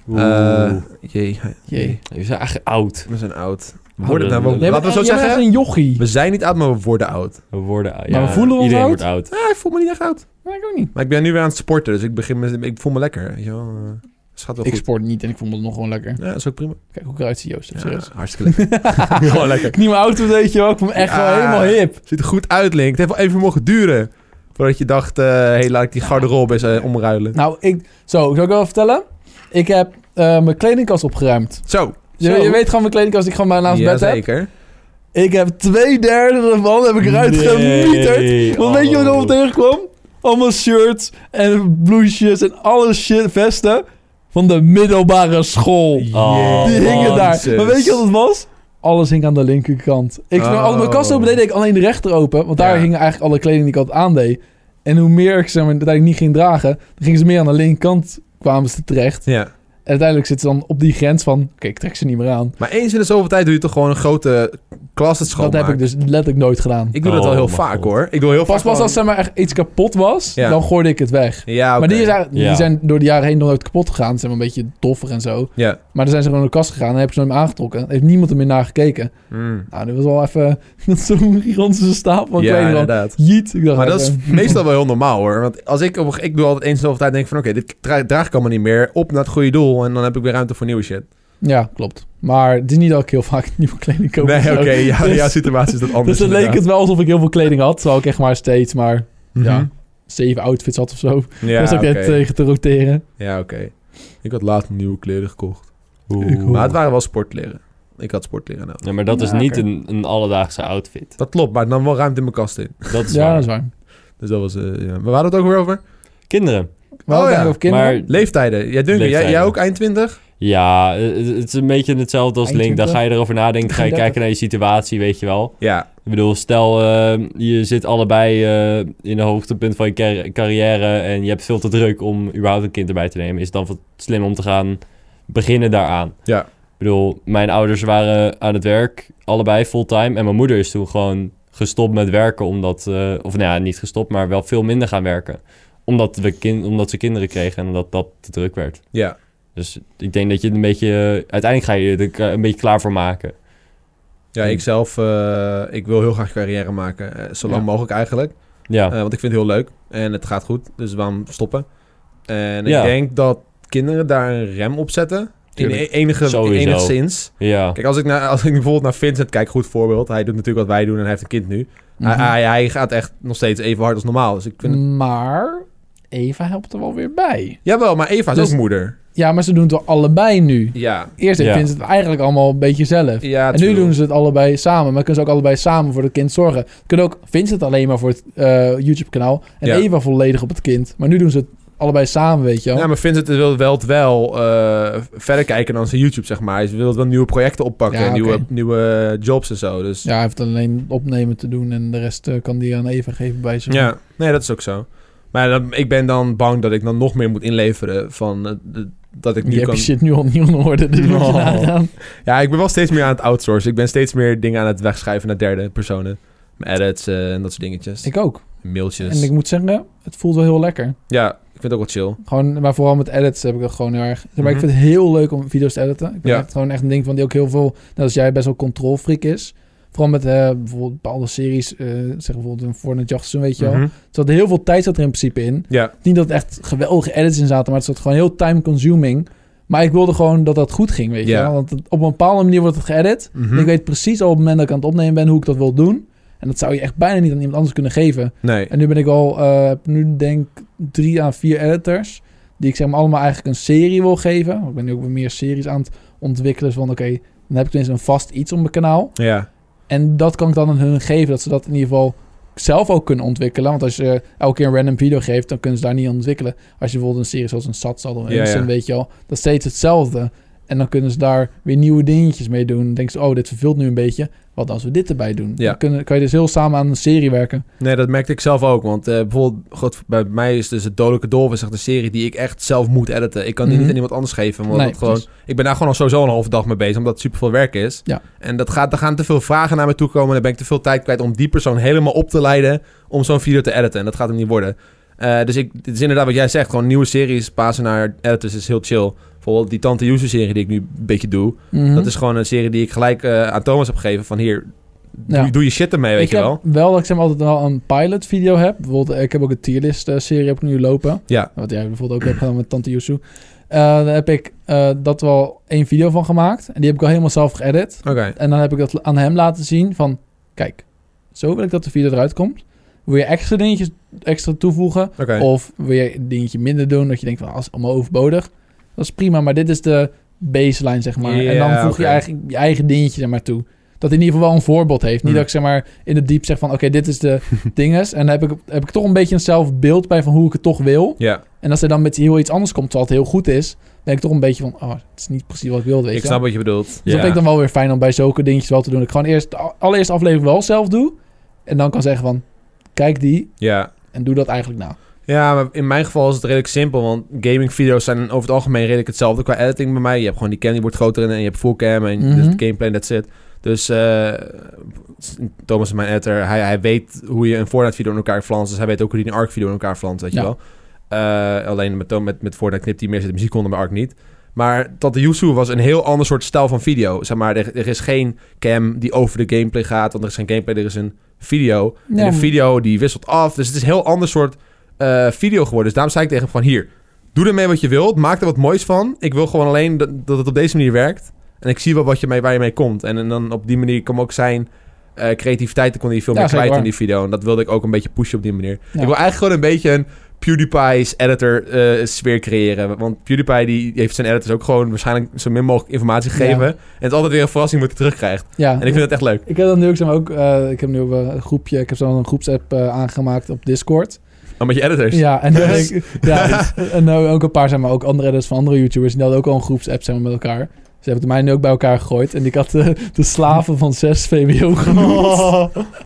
A: Eh,
C: Oeh.
A: jee,
B: Jee.
C: Je bent eigenlijk oud.
A: we zijn oud. We
C: Ouder
A: worden, nou,
C: dan
A: we-
C: we.
B: Jij
A: laten we
B: bent-
A: zo
B: jij bent
A: zeggen,
B: echt een jochie.
A: we zijn niet oud, maar we worden oud.
C: We worden oud.
B: Maar
C: ja,
B: we voelen ons
C: iedereen
B: oud?
C: wordt oud.
A: Ah, ik voel me niet echt oud.
B: Nee, ik ook niet.
A: Maar ik ben nu weer aan het sporten, dus ik, begin met, ik voel me lekker. Weet je wel. Eh, Dus het gaat wel
B: Ik
A: goed.
B: sport niet en ik vond het nog gewoon lekker.
A: Ja, dat is ook prima.
B: Kijk hoe ik eruit zie, Joost.
A: Ja,
B: Serieus.
A: hartstikke lekker. Gewoon lekker.
B: Ik niet mijn auto, weet je wel. Ik vond hem echt
A: Ja.
B: wel helemaal hip.
A: Ziet er goed uit, Link. Het heeft wel even mogen duren. Voordat je dacht, eh hey, laat ik die garderobe eens eh, omruilen.
B: Nou, ik... Zo, zou ik wel vertellen? Ik heb eh, mijn kledingkast opgeruimd.
A: Zo,
B: Je,
C: Zo.
B: je weet gewoon mijn kledingkast die ik gewoon bij naast
A: ja,
B: bed heb.
A: zeker.
B: Ik heb twee derde ervan heb ik eruit gemieterd. Want weet je wat
A: Oh.
B: ik allemaal tegenkwam? Allemaal shirts en blouses en alle shit, vesten van de middelbare school.
C: Oh,
B: Die hingen daar.
A: Jezus.
B: Maar weet je wat het was? Alles hing aan de linkerkant. Ik
A: Oh.
B: als ik mijn kast open deed, deed ik alleen de rechter open. Want daar
A: Ja.
B: hingen eigenlijk alle kleding die ik altijd aandeed. En hoe meer ik ze maar uiteindelijk niet ging dragen, dan gingen ze meer aan de linkerkant kwamen ze terecht.
A: Ja.
B: En uiteindelijk zitten ze dan op die grens van, oké, ik trek ze niet meer aan.
A: Maar eens in de zoveel tijd doe je toch gewoon een grote klas het
B: Dat heb ik dus letterlijk nooit gedaan.
A: Ik doe dat
C: Oh,
A: al heel
C: mijn
A: vaak
C: God.
A: hoor. Ik doe heel
B: Pas
A: vaak
B: was als
A: gewoon-
B: zeg maar echt iets kapot was,
A: Ja.
B: dan gooide ik het weg.
A: Ja, oké.
B: Maar die, is eigenlijk- die
C: Ja.
B: zijn door de jaren heen nog nooit kapot gegaan. Ze zijn wel een beetje doffer en zo.
A: Ja.
B: Maar dan zijn ze gewoon in de kast gegaan en hebben ze nooit meer aangetrokken. Heeft niemand er meer naar gekeken.
C: Hmm.
A: Mm.
B: Nou, dat was wel even dat is zo'n gigantische stapel van
A: Ja,
B: kleding. dan.
A: inderdaad.
B: Jeet. Ik dacht,
A: Maar dat
B: even-
A: is meestal wel heel normaal hoor. Want als ik, op, een ge- ik doe altijd eens in de zoveel tijd denk ik van... Oké, dit dra- draag ik allemaal niet meer. Op naar het goede doel. En dan heb ik weer ruimte voor nieuwe shit.
B: Ja, klopt. Maar het is niet dat ik heel vaak nieuwe kleding koop. of
A: nee,
B: zo.
A: oké. ja,
B: Dus-
A: jouw situatie is dat anders.
B: Dus dan leek het wel alsof ik heel veel kleding had. Terwijl ik echt maar steeds maar
A: inderdaad.
B: ja, zeven outfits had of zo.
A: Mhm.
B: Ja,
A: Ja,
B: was ook net
A: oké.
B: tegen te roteren.
A: Ja, oké. Ik had laatst nieuwe kleren gekocht.
C: Oeh.
A: Maar het waren wel sportkleren. Ik had sportkleren nodig.
C: Ja, maar dat is
B: Ja,
C: niet
B: oké.
C: een, een alledaagse outfit.
A: Dat klopt, maar het nam wel ruimte in mijn kast in.
C: Dat is
B: Ja,
C: waar.
B: dat is waar.
A: Dus dat was... eh ja. Maar waar hadden we het ook weer over?
C: Kinderen.
B: Maar
A: Oh,
B: oh,
A: ja.
B: ja. kinderen.
C: Maar
A: Leeftijden. Jij, Duncan, jij, jij
C: Leeftijden.
A: ook eind 20?
C: ja, eh, het, het is een beetje hetzelfde als Link. Dan ga je erover nadenken. Ga je
B: 31.
C: kijken naar je situatie, weet je wel.
A: Ja.
C: Ik bedoel, stel eh, je zit allebei eh, in een hoogtepunt van je car- carrière en je hebt veel te druk om überhaupt een kind erbij te nemen. Is het dan wat slim om te gaan beginnen daaraan?
A: Ja.
C: Ik bedoel, mijn ouders waren aan het werk, allebei fulltime. En mijn moeder is toen gewoon gestopt met werken omdat, eh, of nou ja, niet gestopt, maar wel veel minder gaan werken. Omdat, we kin- omdat ze kinderen kregen en omdat dat te druk werd.
A: Ja.
C: Dus ik denk dat je het een beetje... eh, uiteindelijk ga je er eh, een beetje klaar voor maken.
A: Ja, ik zelf, eh, ik wil heel graag carrière maken. eh, zo lang
B: Ja.
A: mogelijk eigenlijk.
C: Ja,
A: Eh, want ik vind het heel leuk. En het gaat goed. Dus waarom stoppen? En ik
C: Ja.
A: denk dat kinderen daar een rem op zetten. In
C: Tuurlijk.
A: e- enige, in
C: Sowieso.
A: enigszins.
C: ja.
A: Kijk, als ik, naar, als ik bijvoorbeeld naar Vincent kijk, goed voorbeeld. Hij doet natuurlijk wat wij doen en hij heeft een kind nu. Hij,
B: Mhm. Mm.
A: hij, hij gaat echt nog steeds even hard als normaal. Dus ik vind het...
B: Maar Eva helpt er wel weer bij.
A: Jawel, maar Eva is
B: Dus-
A: ook moeder.
B: Ja, maar ze doen het wel allebei nu.
A: Ja.
B: Eerst
C: Ja.
B: vindt het eigenlijk allemaal een beetje zelf.
A: ja
B: en nu doen ze het allebei samen. Maar kunnen ze ook allebei samen voor het kind zorgen. Kunnen ook Vincent alleen maar voor het eh, YouTube-kanaal. En
A: Ja.
B: Eva volledig op het kind. Maar nu doen ze het allebei samen, weet je wel.
A: Ja, maar Vincent wil wel, het wel eh, verder kijken dan zijn YouTube, zeg maar. Hij wil wel nieuwe projecten oppakken,
B: Ja, oké.
A: nieuwe, nieuwe jobs en zo. Dus
B: Ja, hij heeft alleen opnemen te doen en de rest eh, kan die aan Eva geven bij zich.
A: Ja, nee, dat is ook zo. Maar dan- ik ben dan bang dat ik dan nog meer moet inleveren van eh, de- dat ik
B: Je
A: nu
B: hebt
A: kan...
B: je shit nu al niet in orde, dus moet je
A: Oh.
B: nagaan.
A: Ja, ik ben wel steeds meer aan het outsourcen. Ik ben steeds meer dingen aan het wegschuiven naar derde personen. Mijn edits eh, en dat soort dingetjes.
B: Ik ook.
A: Mailtjes.
B: En ik moet zeggen, het voelt wel heel lekker.
A: Ja, ik vind het ook wel chill.
B: Gewoon, maar vooral met edits heb ik dat gewoon heel erg. Maar
A: Mhm.
B: ik vind het heel leuk om video's te editen. Ik ben
A: Ja.
B: echt gewoon echt een ding van die ook heel veel, net als jij, best wel control freak is. Vooral met eh, bijvoorbeeld bepaalde series, eh, zeg bijvoorbeeld een Fortnite Jachtsen, weet je wel.
A: Mhm.
B: Er zat heel veel tijd zat er in principe in.
A: Ja.
B: Niet dat het echt geweldige edits in zaten, maar het zat gewoon heel time consuming. Maar ik wilde gewoon dat dat goed ging, weet je
A: Ja.
B: wel. Want het- op een bepaalde manier wordt het geëdit.
A: Mhm.
B: En Ik weet precies al op het moment dat ik aan het opnemen ben hoe ik dat wil doen. En dat zou je echt bijna niet aan iemand anders kunnen geven.
A: Nee.
B: En nu ben ik al, eh, heb nu denk ik drie à vier editors. Die ik zeg maar allemaal eigenlijk een serie wil geven. Ik ben nu ook weer meer series aan het ontwikkelen. Van oké, dan heb ik tenminste een vast iets op mijn kanaal.
A: Ja.
B: En dat kan ik dan aan hun geven. Dat ze dat in ieder geval zelf ook kunnen ontwikkelen. Want als je elke keer een random video geeft, dan kunnen ze daar niet aan ontwikkelen. Als je bijvoorbeeld een serie zoals een Sats had of een
A: Ja,
B: Instant,
A: ja.
B: weet je al. Dat is steeds hetzelfde. En dan kunnen ze daar weer nieuwe dingetjes mee doen. Dan denken ze, oh, dit vervult nu een beetje. Wat als we dit erbij doen?
A: Ja.
B: Dan kunnen, kan je dus heel samen aan een serie werken.
A: Nee, dat merkte ik zelf ook. Want eh, bijvoorbeeld, God, bij mij is dus het Dodelijke Dolf is echt een serie die ik echt zelf moet editen. Ik kan die
B: Mhm.
A: niet aan iemand anders geven. Want
B: Nee,
A: dat gewoon,
B: precies.
A: ik ben daar gewoon al sowieso een halve dag mee bezig, omdat het super veel werk is.
B: Ja.
A: En dat gaat, er gaan te veel vragen naar me toe komen. En dan ben ik te veel tijd kwijt om die persoon helemaal op te leiden om zo'n video te editen. En dat gaat hem niet worden. Eh, dus ik, het is inderdaad wat jij zegt. Gewoon nieuwe series passen naar editors is heel chill. Bijvoorbeeld die Tante Yuzu serie die ik nu een beetje doe.
B: Mhm.
A: Dat is gewoon een serie die ik gelijk eh, aan Thomas heb gegeven. Van hier,
B: Ja.
A: doe, doe je shit ermee, weet
B: ik
A: je
B: heb
A: wel.
B: wel dat ik zeg maar, altijd wel een pilot video heb. Bijvoorbeeld, eh, ik heb ook een tierlist eh, serie heb ik nu lopen.
A: Ja.
B: Wat jij bijvoorbeeld ook hebt gedaan met Tante Yusu. Eh, daar heb ik eh, dat wel één video van gemaakt. En die heb ik al helemaal zelf geëdit.
A: Oké.
B: En dan heb ik dat aan hem laten zien van... Kijk, zo wil ik dat de video eruit komt. Wil je extra dingetjes extra toevoegen?
A: Oké.
B: Of wil je een dingetje minder doen? Dat je denkt van, ah, is allemaal overbodig. Dat is prima, maar dit is de baseline, zeg maar. en dan
A: Ja,
B: voeg
A: oké.
B: je eigenlijk je eigen dingetje er maar toe. Dat in ieder geval wel een voorbeeld heeft. Niet
A: Hmm.
B: dat ik zeg maar in het diep zeg van... oké, dit is de dinges. En dan heb ik, heb ik toch een beetje een zelfbeeld bij van hoe ik het toch wil.
A: Ja,
B: En als er dan met heel iets anders komt, terwijl het heel goed is... ben ik toch een beetje van... oh, het is niet precies wat ik wilde, weet
A: ik
B: je
A: snap wat je bedoelt.
B: dus dat vind ik dan wel weer fijn om bij zulke dingetjes wel te doen. Dat ik gewoon eerst de allereerste aflevering wel zelf doe. En dan kan zeggen van, kijk die
A: Ja.
B: en doe dat eigenlijk na.
A: Ja, maar in mijn geval is het redelijk simpel, want gaming video's zijn over het algemeen redelijk hetzelfde qua editing bij mij. Je hebt gewoon die cam, die wordt groter en je hebt full cam en
B: Mhm.
A: dus het gameplay, that's it. Dus eh, Thomas is mijn editor, hij, hij weet hoe je een Fortnite video in elkaar flanst, dus hij weet ook hoe hij een Arc video in elkaar flanst, weet
B: Ja.
A: je wel. Eh, alleen met, Tom- met, met Fortnite knipt hij meer zit de muziek onder, bij Arc niet. Maar Tante Yusu was een heel ander soort stijl van video. Zeg maar, er, er is geen cam die over de gameplay gaat, want er is geen gameplay, er is een video.
B: Ja,
A: en een
B: maar-
A: video die wisselt af, dus het is een heel ander soort eh, video geworden. Dus daarom zei ik tegen hem van hier, doe ermee wat je wilt. Maak er wat moois van. Ik wil gewoon alleen dat, dat het op deze manier werkt. En ik zie wel wat je mee, waar je mee komt. En, en dan op die manier kan ook zijn eh, creativiteit. Dan kon hij veel
B: Ja,
A: meer
B: zeker
A: kwijt in
B: waar.
A: die video. En dat wilde ik ook een beetje pushen op die manier.
B: Ja.
A: Ik wil eigenlijk gewoon een beetje een PewDiePie's editor eh, sfeer creëren. Want PewDiePie die heeft zijn editors ook gewoon waarschijnlijk zo min mogelijk informatie gegeven.
B: Ja.
A: En het is altijd weer een verrassing wat hij terugkrijgt.
B: Ja, dus
A: En ik vind het echt leuk.
B: ik heb dan nu ook, zeg maar, ook eh, ik heb nu ook wel een groepje, ik heb zo'n groepsapp eh, aangemaakt op Discord.
A: Dan met je editors.
B: Ja, dus, en, dan
A: Yes.
B: dus ik, ja, en nou ook een paar, zeg maar, ook andere editors van andere YouTubers, die hadden ook al een groepsapp, zeg maar, met elkaar. Ze hebben mij nu ook bij elkaar gegooid. En ik had eh, de slaven van 6 VWO genoemd.
A: Oh.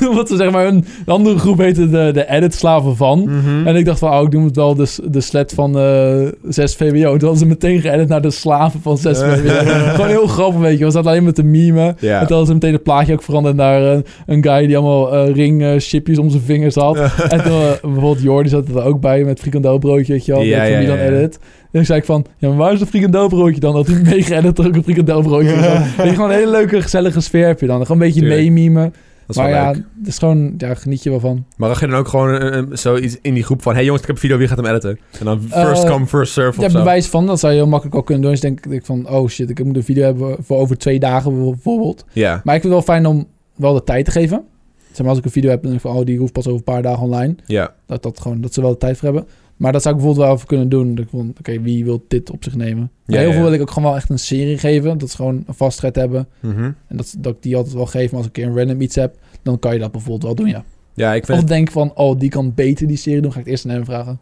B: Wat ze zeg maar, een, een andere groep heette de, de edit-slaven van.
A: Mhm.
B: En ik dacht van, oh, ik noem het wel de, s- de slet van eh 6 VWO. En Toen hadden ze meteen geëdit naar de slaven van 6 VWO. Gewoon heel grappig, weet je. We zaten alleen met de meme.
A: Ja.
B: En toen hadden ze meteen het plaatje ook veranderd naar een, een guy die allemaal eh, ring ringchipjes om zijn vingers had. en toen, eh, bijvoorbeeld Jordi zat er ook bij met frikandelbroodje, weet je wel.
A: Ja,
B: Ja,
A: ja,
B: ja,
A: ja, ja.
B: edit. En ik zei ik van, ja, maar waar is het frikandelbroodje dan? Dat hij mee geëdit ook een frikandelbroodje. en zo. Weet je, gewoon een hele leuke, gezellige sfeer heb je dan. Gewoon een beetje
A: Tuurlijk.
B: meemimen.
A: Dat is
B: Maar
A: wel
B: ja,
A: leuk.
B: het is gewoon, ja, geniet je wel van.
A: Maar dan ga je dan ook gewoon eh, eh, zoiets in die groep van... Hé hey jongens, ik heb een video, wie gaat hem editen? En dan first
B: Eh,
A: come, first serve
B: Ja,
A: of zo.
B: bewijs van. Dat zou je heel makkelijk al kunnen doen. Dus denk ik- denk ik van, oh shit, ik moet een video hebben voor over twee dagen bijvoorbeeld.
A: Ja.
B: Maar ik vind het wel fijn om wel de tijd te geven. Zeg maar als ik een video heb en denk ik van, oh die hoeft pas over een paar dagen online.
A: Ja.
B: Dat, dat, gewoon, dat ze wel de tijd voor hebben. Maar dat zou ik bijvoorbeeld wel even kunnen doen. Dat ik van, oké, wie wil dit op zich nemen?
A: Ja,
B: Maar
A: ja,
B: heel veel
A: ja.
B: wil ik ook gewoon wel echt een serie geven. Dat ze gewoon een vastheid hebben.
A: Mhm.
B: En dat, dat ik die altijd wel geef. Maar als ik een keer een random iets heb, dan kan je dat bijvoorbeeld wel doen, ja.
A: Ja, ik vind
B: Of denk van, oh, die kan beter die serie doen. Ga ik het eerst aan hem vragen.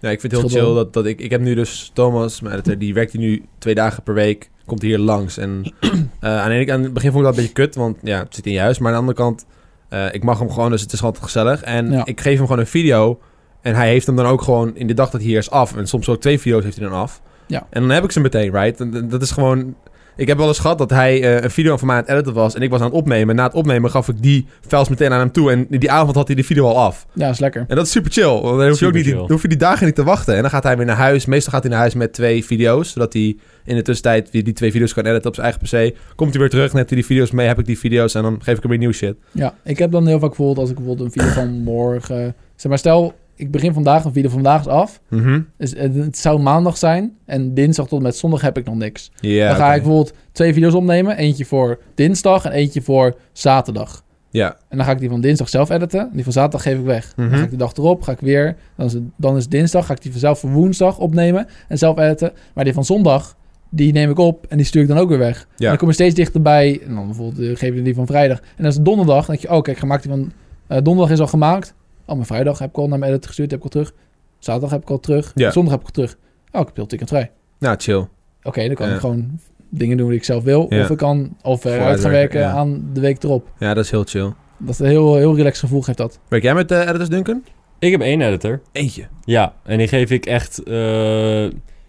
A: Ja, ik vind het heel
B: Schilder.
A: chill dat, dat ik... Ik heb nu dus Thomas, mijn editor, die werkt hier nu twee dagen per week. Komt hier langs. En eh, aan, de ene, kant- aan het begin vond ik dat een beetje kut, want ja, het zit in je huis. Maar aan de andere kant, eh, ik mag hem gewoon, dus het is altijd gezellig. En
B: Ja.
A: ik geef hem gewoon een video. En hij heeft hem dan ook gewoon in de dag dat hij hier is af. En soms ook twee video's heeft hij dan af.
B: Ja.
A: En dan heb ik ze meteen, right? En, en dat is gewoon... Ik heb wel eens gehad dat hij eh, een video van mij aan het editen was. En ik was aan het opnemen. Na het opnemen gaf ik die files meteen aan hem toe. En die avond had hij die video al af.
B: Ja, is lekker.
A: En dat is super chill. Want dan hoef je, ook
C: Super
A: niet, die-
C: chill.
A: dan hoef je die dagen niet te wachten. En dan gaat hij weer naar huis. Meestal gaat hij naar huis met twee video's. Zodat hij in de tussentijd weer die twee video's kan editen op zijn eigen PC. Komt hij weer terug, neemt hij die video's mee. Heb ik die video's en dan geef ik hem weer nieuw shit.
B: Ja, ik heb dan heel vaak bijvoorbeeld als ik bijvoorbeeld een video van morgen... Zeg maar, stel, ik begin vandaag, een video van vandaag is af.
A: Mhm.
B: Dus het het zou maandag zijn en dinsdag tot en met zondag heb ik nog niks.
A: Ja,
B: dan ga
A: oké.
B: ik bijvoorbeeld twee video's opnemen. Eentje voor dinsdag en eentje voor zaterdag.
A: Ja.
B: En dan ga ik die van dinsdag zelf editen. en Die van zaterdag geef ik weg.
A: Mhm.
B: Dan ga ik de dag erop, ga ik weer. Dan is, het- dan is het dinsdag, ga ik die vanzelf voor woensdag opnemen en zelf editen. Maar die van zondag, die neem ik op en die stuur ik dan ook weer weg.
A: Ja.
B: En dan kom je steeds dichterbij. En dan bijvoorbeeld eh, geef je die van vrijdag. En dan is het donderdag. Dan denk je, oh kijk, gemaakt die van... eh, donderdag is al gemaakt. Oh, mijn vrijdag heb ik al naar mijn editor gestuurd, heb ik al terug. Zaterdag heb ik al terug.
A: Ja.
B: Zondag heb ik al terug. Oh, ik heb heel weekend vrij
A: Nou, chill.
B: oké, dan kan
A: Ja.
B: ik gewoon dingen doen die ik zelf wil.
A: Ja.
B: Of ik kan al
A: Vooruit
B: veruit gaan
A: werken,
B: werken
A: ja.
B: aan de week erop.
A: Ja, dat is heel chill.
B: Dat is een heel, heel relaxed gevoel geeft dat.
A: Werk jij met eh, editors, Duncan?
C: Ik heb één editor.
A: Eentje.
C: Ja, en die geef ik echt... eh,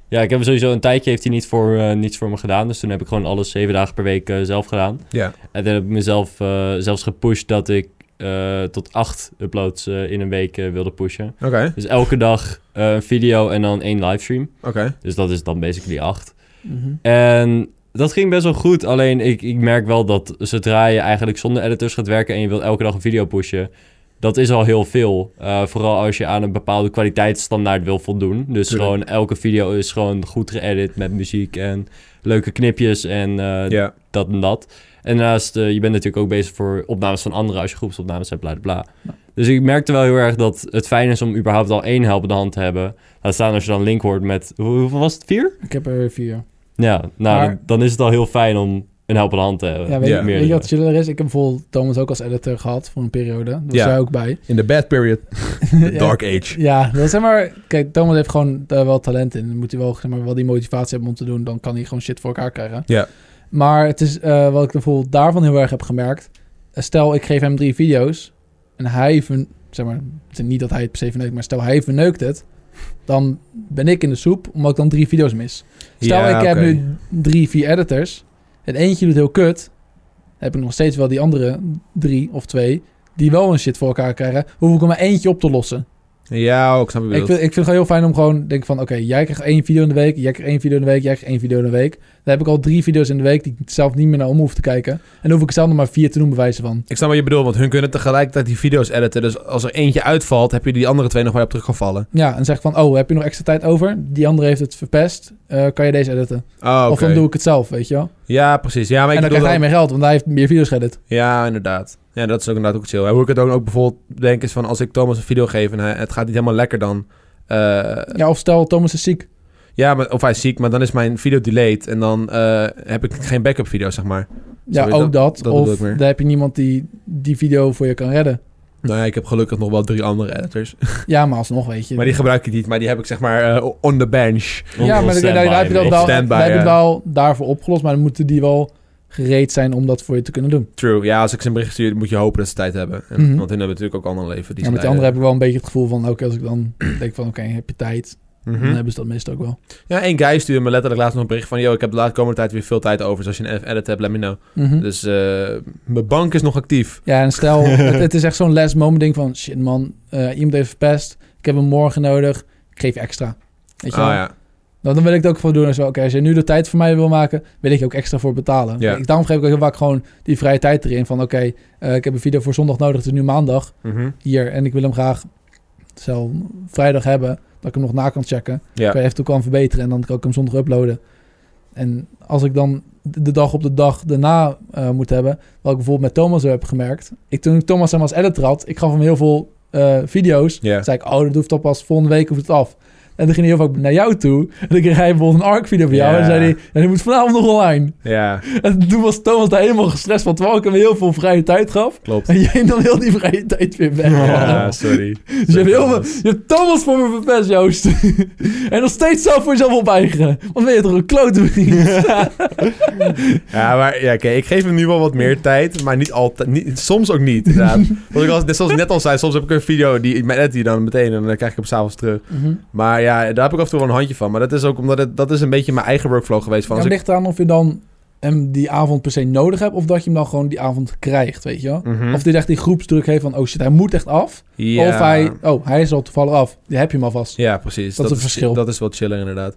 C: ja, ik heb sowieso een tijdje heeft hij niet voor, eh, niets voor me gedaan. Dus toen heb ik gewoon alles zeven dagen per week eh, zelf gedaan.
A: Ja.
C: En toen heb ik mezelf eh, zelfs gepusht dat ik eh, tot acht uploads eh, in een week eh, wilde pushen.
A: Oké,
C: Dus elke dag eh, een video en dan één livestream.
A: oké.
C: Dus dat is dan basically acht. Mhm. En dat ging best wel goed. Alleen ik, ik merk wel dat zodra je eigenlijk zonder editors gaat werken en je wilt elke dag een video pushen, dat is al heel veel. Eh, vooral als je aan een bepaalde kwaliteitsstandaard wil voldoen. Dus
A: Tuurlijk.
C: gewoon elke video is gewoon goed geëdit met muziek en leuke knipjes en eh,
A: Ja.
C: dat en dat. En daarnaast, eh, je bent natuurlijk ook bezig voor opnames van anderen als je groepsopnames hebt, bla bla. bla.
B: Ja.
C: Dus ik merkte wel heel erg dat het fijn is om überhaupt al één helpende hand te hebben. Laat staan als je dan link hoort met, hoe- hoeveel was het, vier?
B: Ik heb er vier.
C: Ja, nou,
B: Maar-
C: dan, dan is het al heel fijn om een helpende hand te hebben.
B: Ja, weet,
A: Ja.
B: Je,
C: Meer
B: weet je
C: dan-
B: wat chiller is? Ik heb bijvoorbeeld Thomas ook als editor gehad voor een periode. Daar was
A: Ja.
B: jij ook bij.
A: In the bad period. The dark age.
B: Ja, dat is zeg maar... Kijk, Thomas heeft gewoon daar wel talent in. Dan moet hij wel, zeg maar, wel die motivatie hebben om te doen. Dan kan hij gewoon shit voor elkaar krijgen.
A: Ja.
B: Maar het is eh, wat ik bijvoorbeeld daarvan heel erg heb gemerkt. Eh, Stel, ik geef hem drie video's. En hij, vern- zeg maar, het is niet dat hij het per se verneukt, maar stel hij verneukt het. Dan ben ik in de soep, omdat ik dan drie video's mis. Stel,
A: Ja,
B: ik heb
A: oké.
B: nu drie, vier editors. En eentje doet heel kut. Dan heb ik nog steeds wel die andere drie of twee. Die wel een shit voor elkaar krijgen. Hoef ik er maar eentje op te lossen.
A: Ja, ook snap je
B: Ik
A: bedoelt.
B: vind, ik vind het gewoon heel fijn om gewoon denk van... Oké, jij krijgt één video in de week. Jij krijgt één video in de week. Jij krijgt één video in de week. Dan heb ik al drie video's in de week... die ik zelf niet meer naar om hoef te kijken. En dan hoef ik zelf nog maar vier te doen bewijzen van.
A: Ik snap wat je bedoelt, want hun kunnen tegelijkertijd die video's editen. Dus als er eentje uitvalt, heb je die andere twee nog wel op terug gaan vallen.
B: Ja, en zeg ik van... Oh, heb je nog extra tijd over? Die andere heeft het verpest. Eh, kan je deze editen?
A: Oh, oké.
B: Of dan doe ik het zelf, weet je wel.
A: Ja, precies. Ja, maar ik
B: En dan
A: bedoel
B: krijgt
A: dan-
B: hij meer geld, want hij heeft meer video's geëdit.
A: Ja, inderdaad. Ja, dat is ook inderdaad ook chill. En hoe ik het ook, ook bijvoorbeeld denk is van als ik Thomas een video geef en hij- het gaat niet helemaal lekker dan... eh,
B: Ja, of stel Thomas is ziek.
A: ja, maar, of hij is ziek, maar dan is mijn video delayed en dan eh, heb ik geen backup video, zeg maar.
B: Ja,
A: Sorry,
B: ook
A: dat-
B: dat.
A: dat bedoel
B: of
A: ik meer.
B: daar heb je niemand die die video voor je kan redden.
A: Nou ja, ik heb gelukkig nog wel drie andere editors.
B: Ja, maar alsnog weet je.
A: Maar die gebruik ik niet, maar die heb ik zeg maar eh, on the bench.
B: ja, maar daar, daar heb je dat wel,
A: Standby,
B: daar heb je
A: ja.
B: wel daarvoor opgelost. Maar dan moeten die wel gereed zijn om dat voor je te kunnen doen.
A: True. Ja, als ik ze een bericht stuur, moet je hopen dat ze tijd hebben. En,
B: Mhm.
A: Want hun hebben natuurlijk ook ander leven. Die
B: ja, met die
A: ze
B: anderen
A: leiden.
B: heb ik wel een beetje het gevoel van... Oké, als ik dan denk van... Oké, heb je tijd? Dan
A: Mhm.
B: hebben ze dat meestal ook wel.
A: Ja, één guy stuurde me letterlijk laatst nog een bericht van... ...yo, ik heb de laatste komende tijd weer veel tijd over. Dus als je een edit hebt, let me know.
B: Mhm.
A: Dus eh, mijn bank is nog actief.
B: Ja, en stel, het, het is echt zo'n last moment ding van... Shit man, eh, iemand heeft verpest. Ik heb hem morgen nodig. Ik geef je extra. Weet
A: Ah
B: je wel?
A: ja.
B: Dan, dan wil ik het ook voor doen. en zo. Oké, als je nu de tijd voor mij wil maken, wil ik je ook extra voor betalen.
A: Ja.
B: Ik, daarom geef ik ook heel vaak gewoon die vrije tijd erin. Van oké, eh, ik heb een video voor zondag nodig. Het is nu maandag
A: Mhm.
B: hier. En ik wil hem graag zelf vrijdag hebben. Dat ik hem nog na kan checken.
A: Ja.
B: Kan je eventueel kan verbeteren. En dan kan ik hem zondag uploaden. En als ik dan de de dag op de dag daarna eh, moet hebben. Wat ik bijvoorbeeld met Thomas heb gemerkt. Ik, toen ik Thomas hem als editor had, ik gaf hem heel veel eh, video's.
A: Ja.
B: Toen zei ik, oh, dat hoeft al pas volgende week hoeft het af. En toen ging hij heel vaak naar jou toe. En dan kreeg hij bijvoorbeeld een ARC-video van jou.
A: Ja.
B: En dan zei hij, ja, die moet vanavond nog online.
A: Ja,
B: En toen was Thomas daar helemaal gestrest van, terwijl ik hem heel veel vrije tijd gaf.
A: klopt.
B: En jij nam heel die vrije tijd weer weg.
A: Ja, sorry.
B: dus je hebt, heel veel, je hebt Thomas voor me verpest, Joost. en nog steeds zelf voor jezelf opeigeren. Want ben je toch een klote vriend?
A: Ja, maar ja, oké, ik geef hem nu wel wat meer tijd, maar niet altijd. Niet, soms ook niet. inderdaad. Want ik als, net zoals ik net al zei, soms heb ik een video die mijn edit die dan meteen en dan krijg ik hem s'avonds terug.
B: Mhm.
A: Maar ja, daar heb ik af en toe wel een handje van. Maar dat is ook omdat het, dat is een beetje mijn eigen workflow geweest. Van
B: Dan
A: als ik,
B: ligt eraan of je dan hem die avond per se nodig hebt... of dat je hem dan gewoon die avond krijgt, weet je wel?
A: Mhm.
B: Of dit echt die groepsdruk heeft van... oh shit, hij moet echt af.
A: ja,
B: Of hij, oh, hij is al toevallig af. Die heb je hem alvast.
A: Ja, precies.
B: Dat is een verschil.
A: Dat is wel chiller, inderdaad.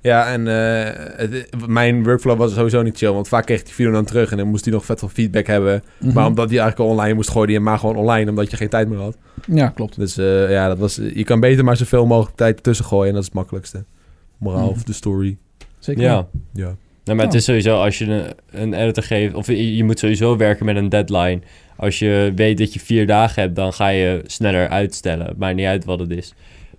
A: Ja, en eh, het- mijn workflow was sowieso niet chill. Want vaak kreeg ik die video dan terug en dan moest hij nog vet veel feedback hebben.
B: Mhm.
A: Maar omdat die eigenlijk al online moest gooien, die hem maar gewoon online, omdat je geen tijd meer had.
B: Ja, klopt.
A: Dus eh, ja, dat was, je kan beter maar zoveel mogelijk tijd tussen gooien. En dat is het makkelijkste. Moraal
B: Mhm.
A: of de story.
B: Zeker.
C: Ja.
A: Ja.
C: Nou, maar het
B: Ja.
C: is sowieso als je een, een editor geeft, of je, je moet sowieso werken met een deadline. Als je weet dat je vier dagen hebt, dan ga je sneller uitstellen. Het Maakt niet uit wat het is.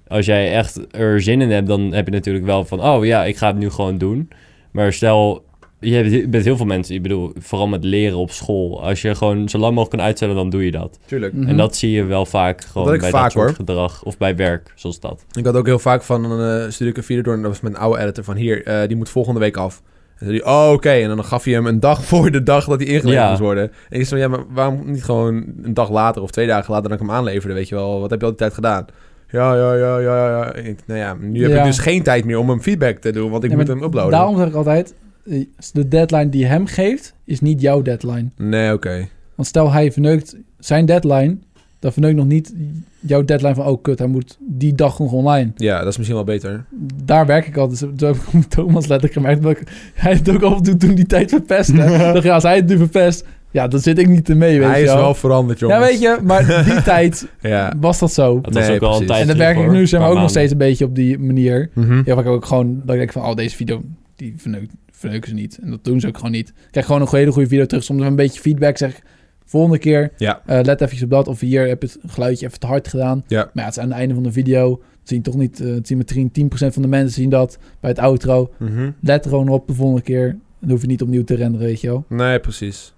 C: Als jij echt er zin in hebt, dan heb je natuurlijk wel van, oh ja, ik ga het nu gewoon doen. Maar stel, je hebt, je bent heel veel mensen, ik bedoel, vooral met leren op school. Als je gewoon zo lang mogelijk kan uitstellen, dan doe je dat.
A: Tuurlijk.
B: Mhm.
C: En dat zie je wel vaak
A: Dat
C: gewoon
A: ik
C: bij
A: vaak,
C: dat soort
A: hoor.
C: gedrag. Of bij werk, zoals dat.
A: Ik had ook heel vaak van een uh, studie video door. En dat was met een oude editor van hier, eh, die moet volgende week af. En toen zei hij, oh oké. En dan gaf je hem een dag voor de dag dat hij ingeleverd
C: Ja.
A: moest worden. En ik zei, ja, maar waarom niet gewoon een dag later of twee dagen later dan ik hem aanleverde? Weet je wel, wat heb je al die tijd gedaan? Ja, ja, ja, ja, ja. En Ik, nou ja, nu heb
B: Ja.
A: ik dus geen tijd meer om hem feedback te doen, want ik
B: Ja,
A: moet
B: maar
A: hem uploaden.
B: Daarom zeg ik altijd, eh, de deadline die hem geeft, is niet jouw deadline.
A: Nee, oké.
B: Want stel hij verneukt zijn deadline, dan verneukt nog niet jouw deadline van, oh kut, hij moet die dag nog online.
A: Ja, dat is misschien wel beter.
B: Daar werk ik altijd. Zo heb ik met Thomas letterlijk gemerkt. Dat ik, hij het ook af en toe toen die tijd verpest. hè. dan, ja, als hij het nu verpest, ja, dan zit ik niet ermee, weet
A: Hij
B: je
A: is
B: wel.
A: wel veranderd, jongens.
B: Ja, weet je, maar die tijd
A: Ja.
B: was dat zo.
C: Dat was
A: Nee,
C: ook wel een
A: precies.
C: tijd
B: En daar
C: terug,
B: werk ik
C: hoor.
B: nu zeg maar, ook
C: Een
B: nog
C: paar
B: steeds een beetje op die manier.
A: Mhm.
B: Heel vaak ook gewoon dat ik denk van, oh, deze video, die verneukt, verneuken ze niet. En dat doen ze ook gewoon niet. Ik krijg gewoon een hele goede video terug. Soms een beetje feedback, zeg volgende keer
A: Ja.
B: eh, let even op dat. Of hier heb je het geluidje even te hard gedaan.
A: Ja.
B: Maar ja, het is aan het einde van de video. Dat zien toch niet, eh, het zien maar 10% van de mensen zien dat bij het outro.
A: Mhm.
B: Let er gewoon op de volgende keer. Dan hoef je niet opnieuw te renderen, weet je wel.
A: Nee, precies.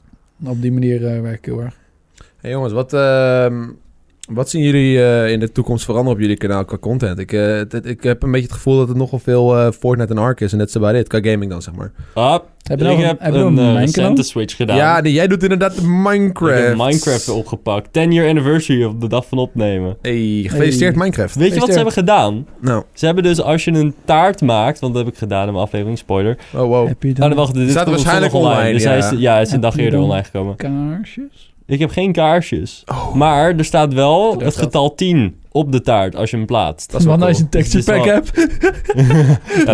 B: Op die manier eh, werk ik heel erg.
A: Hey jongens, wat, ehm, wat zien jullie eh, in de toekomst veranderen op jullie kanaal qua content? Ik, eh, het- het- ik heb een beetje het gevoel dat het nogal veel eh, Fortnite en Ark is en net zo bij dit, qua gaming dan zeg maar.
C: Ah,
B: Heb je
C: ik
B: nog een-
C: heb
B: heb je nog
C: een,
B: een
C: eh,
B: Minecraft?
C: recente Switch gedaan.
A: Ja, nee, jij doet inderdaad Minecraft.
C: Ik heb Minecraft opgepakt. 10 year anniversary op de dag van opnemen.
A: Hey, gefeliciteerd
B: Hey.
A: Minecraft.
C: Weet je wat ze hebben gedaan?
A: Nou,
C: Ze hebben dus als je een taart maakt, want dat heb ik gedaan in mijn aflevering, spoiler.
A: oh wow.
B: Heb je
C: Nou,
B: dan
C: dan wacht, dit
A: Staat
C: komt op
A: waarschijnlijk
C: zondag
A: online,
C: Dus
A: ja.
C: hij is, ja, hij is een
B: Heb
C: dag
B: je
C: eerder
B: dan-
C: online gekomen.
B: kaarsjes?
C: Ik heb geen kaarsjes.
A: Oh.
C: Maar er staat wel
B: Dat
C: het
B: staat.
C: getal 10 op de taart als je hem plaatst.
A: Dat is wel
B: Want als je
A: cool.
B: een texture
C: Dus dit is
B: pack
C: wel-
B: hebt,
C: Ja,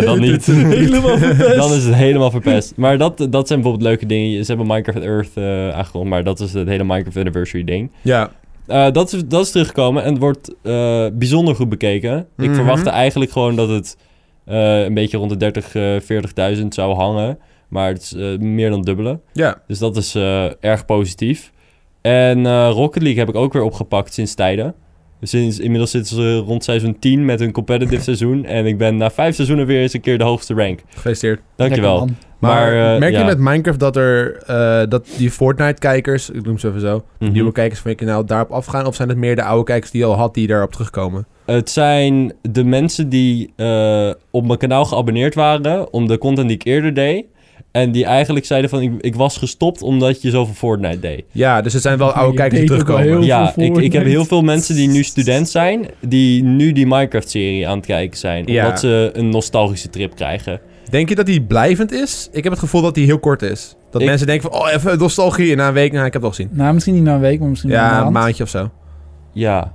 C: dan niet.
B: helemaal verpest.
C: Dan is het helemaal verpest. Maar dat, dat zijn bijvoorbeeld leuke dingen. Ze hebben Minecraft Earth eh aangekondigd, maar dat is het hele Minecraft Anniversary ding.
A: Ja,
C: Eh, dat, is, dat is teruggekomen en het wordt eh, bijzonder goed bekeken. Ik
A: Mhm.
C: verwachtte eigenlijk gewoon dat het eh, een beetje rond de 30, eh 40.000 zou hangen. Maar het is eh, meer dan dubbele.
A: ja.
C: Dus dat is eh, erg positief. En eh, Rocket League heb ik ook weer opgepakt sinds tijden. Sinds, inmiddels zitten ze rond seizoen 10 met hun competitive seizoen. En ik ben na vijf seizoenen weer eens een keer de hoogste rank.
A: Gefeliciteerd.
C: Dankjewel.
B: Lekker, man.
C: Maar, eh,
A: merk je
C: ja.
A: met Minecraft dat er eh, dat die Fortnite-kijkers, ik noem ze even zo,
C: Mhm.
A: nieuwe kijkers van je kanaal daarop afgaan? Of zijn het meer de oude kijkers die je al had die daarop terugkomen?
C: Het zijn de mensen die eh, op mijn kanaal geabonneerd waren om de content die ik eerder deed. En die eigenlijk zeiden van, ik, ik was gestopt omdat je zoveel Fortnite deed.
A: Ja, dus het zijn wel
B: Je
A: oude kijkers die
B: deed ook wel
A: terugkomen.
B: Heel
C: ja,
B: veel
C: ik, ik heb
B: Fortnite.
C: heel veel mensen die nu student zijn, die nu die Minecraft-serie aan het kijken zijn.
A: Ja.
C: Omdat ze een nostalgische trip krijgen.
A: Denk je dat die blijvend is? Ik heb het gevoel dat die heel kort is. Dat
C: Ik-
A: mensen denken van, oh, even nostalgie. En na een week, nou, ik heb het al gezien.
B: Nou, misschien niet na een week, maar misschien na
A: Ja,
B: een
A: een
B: maand.
A: maandje of zo.
C: Ja.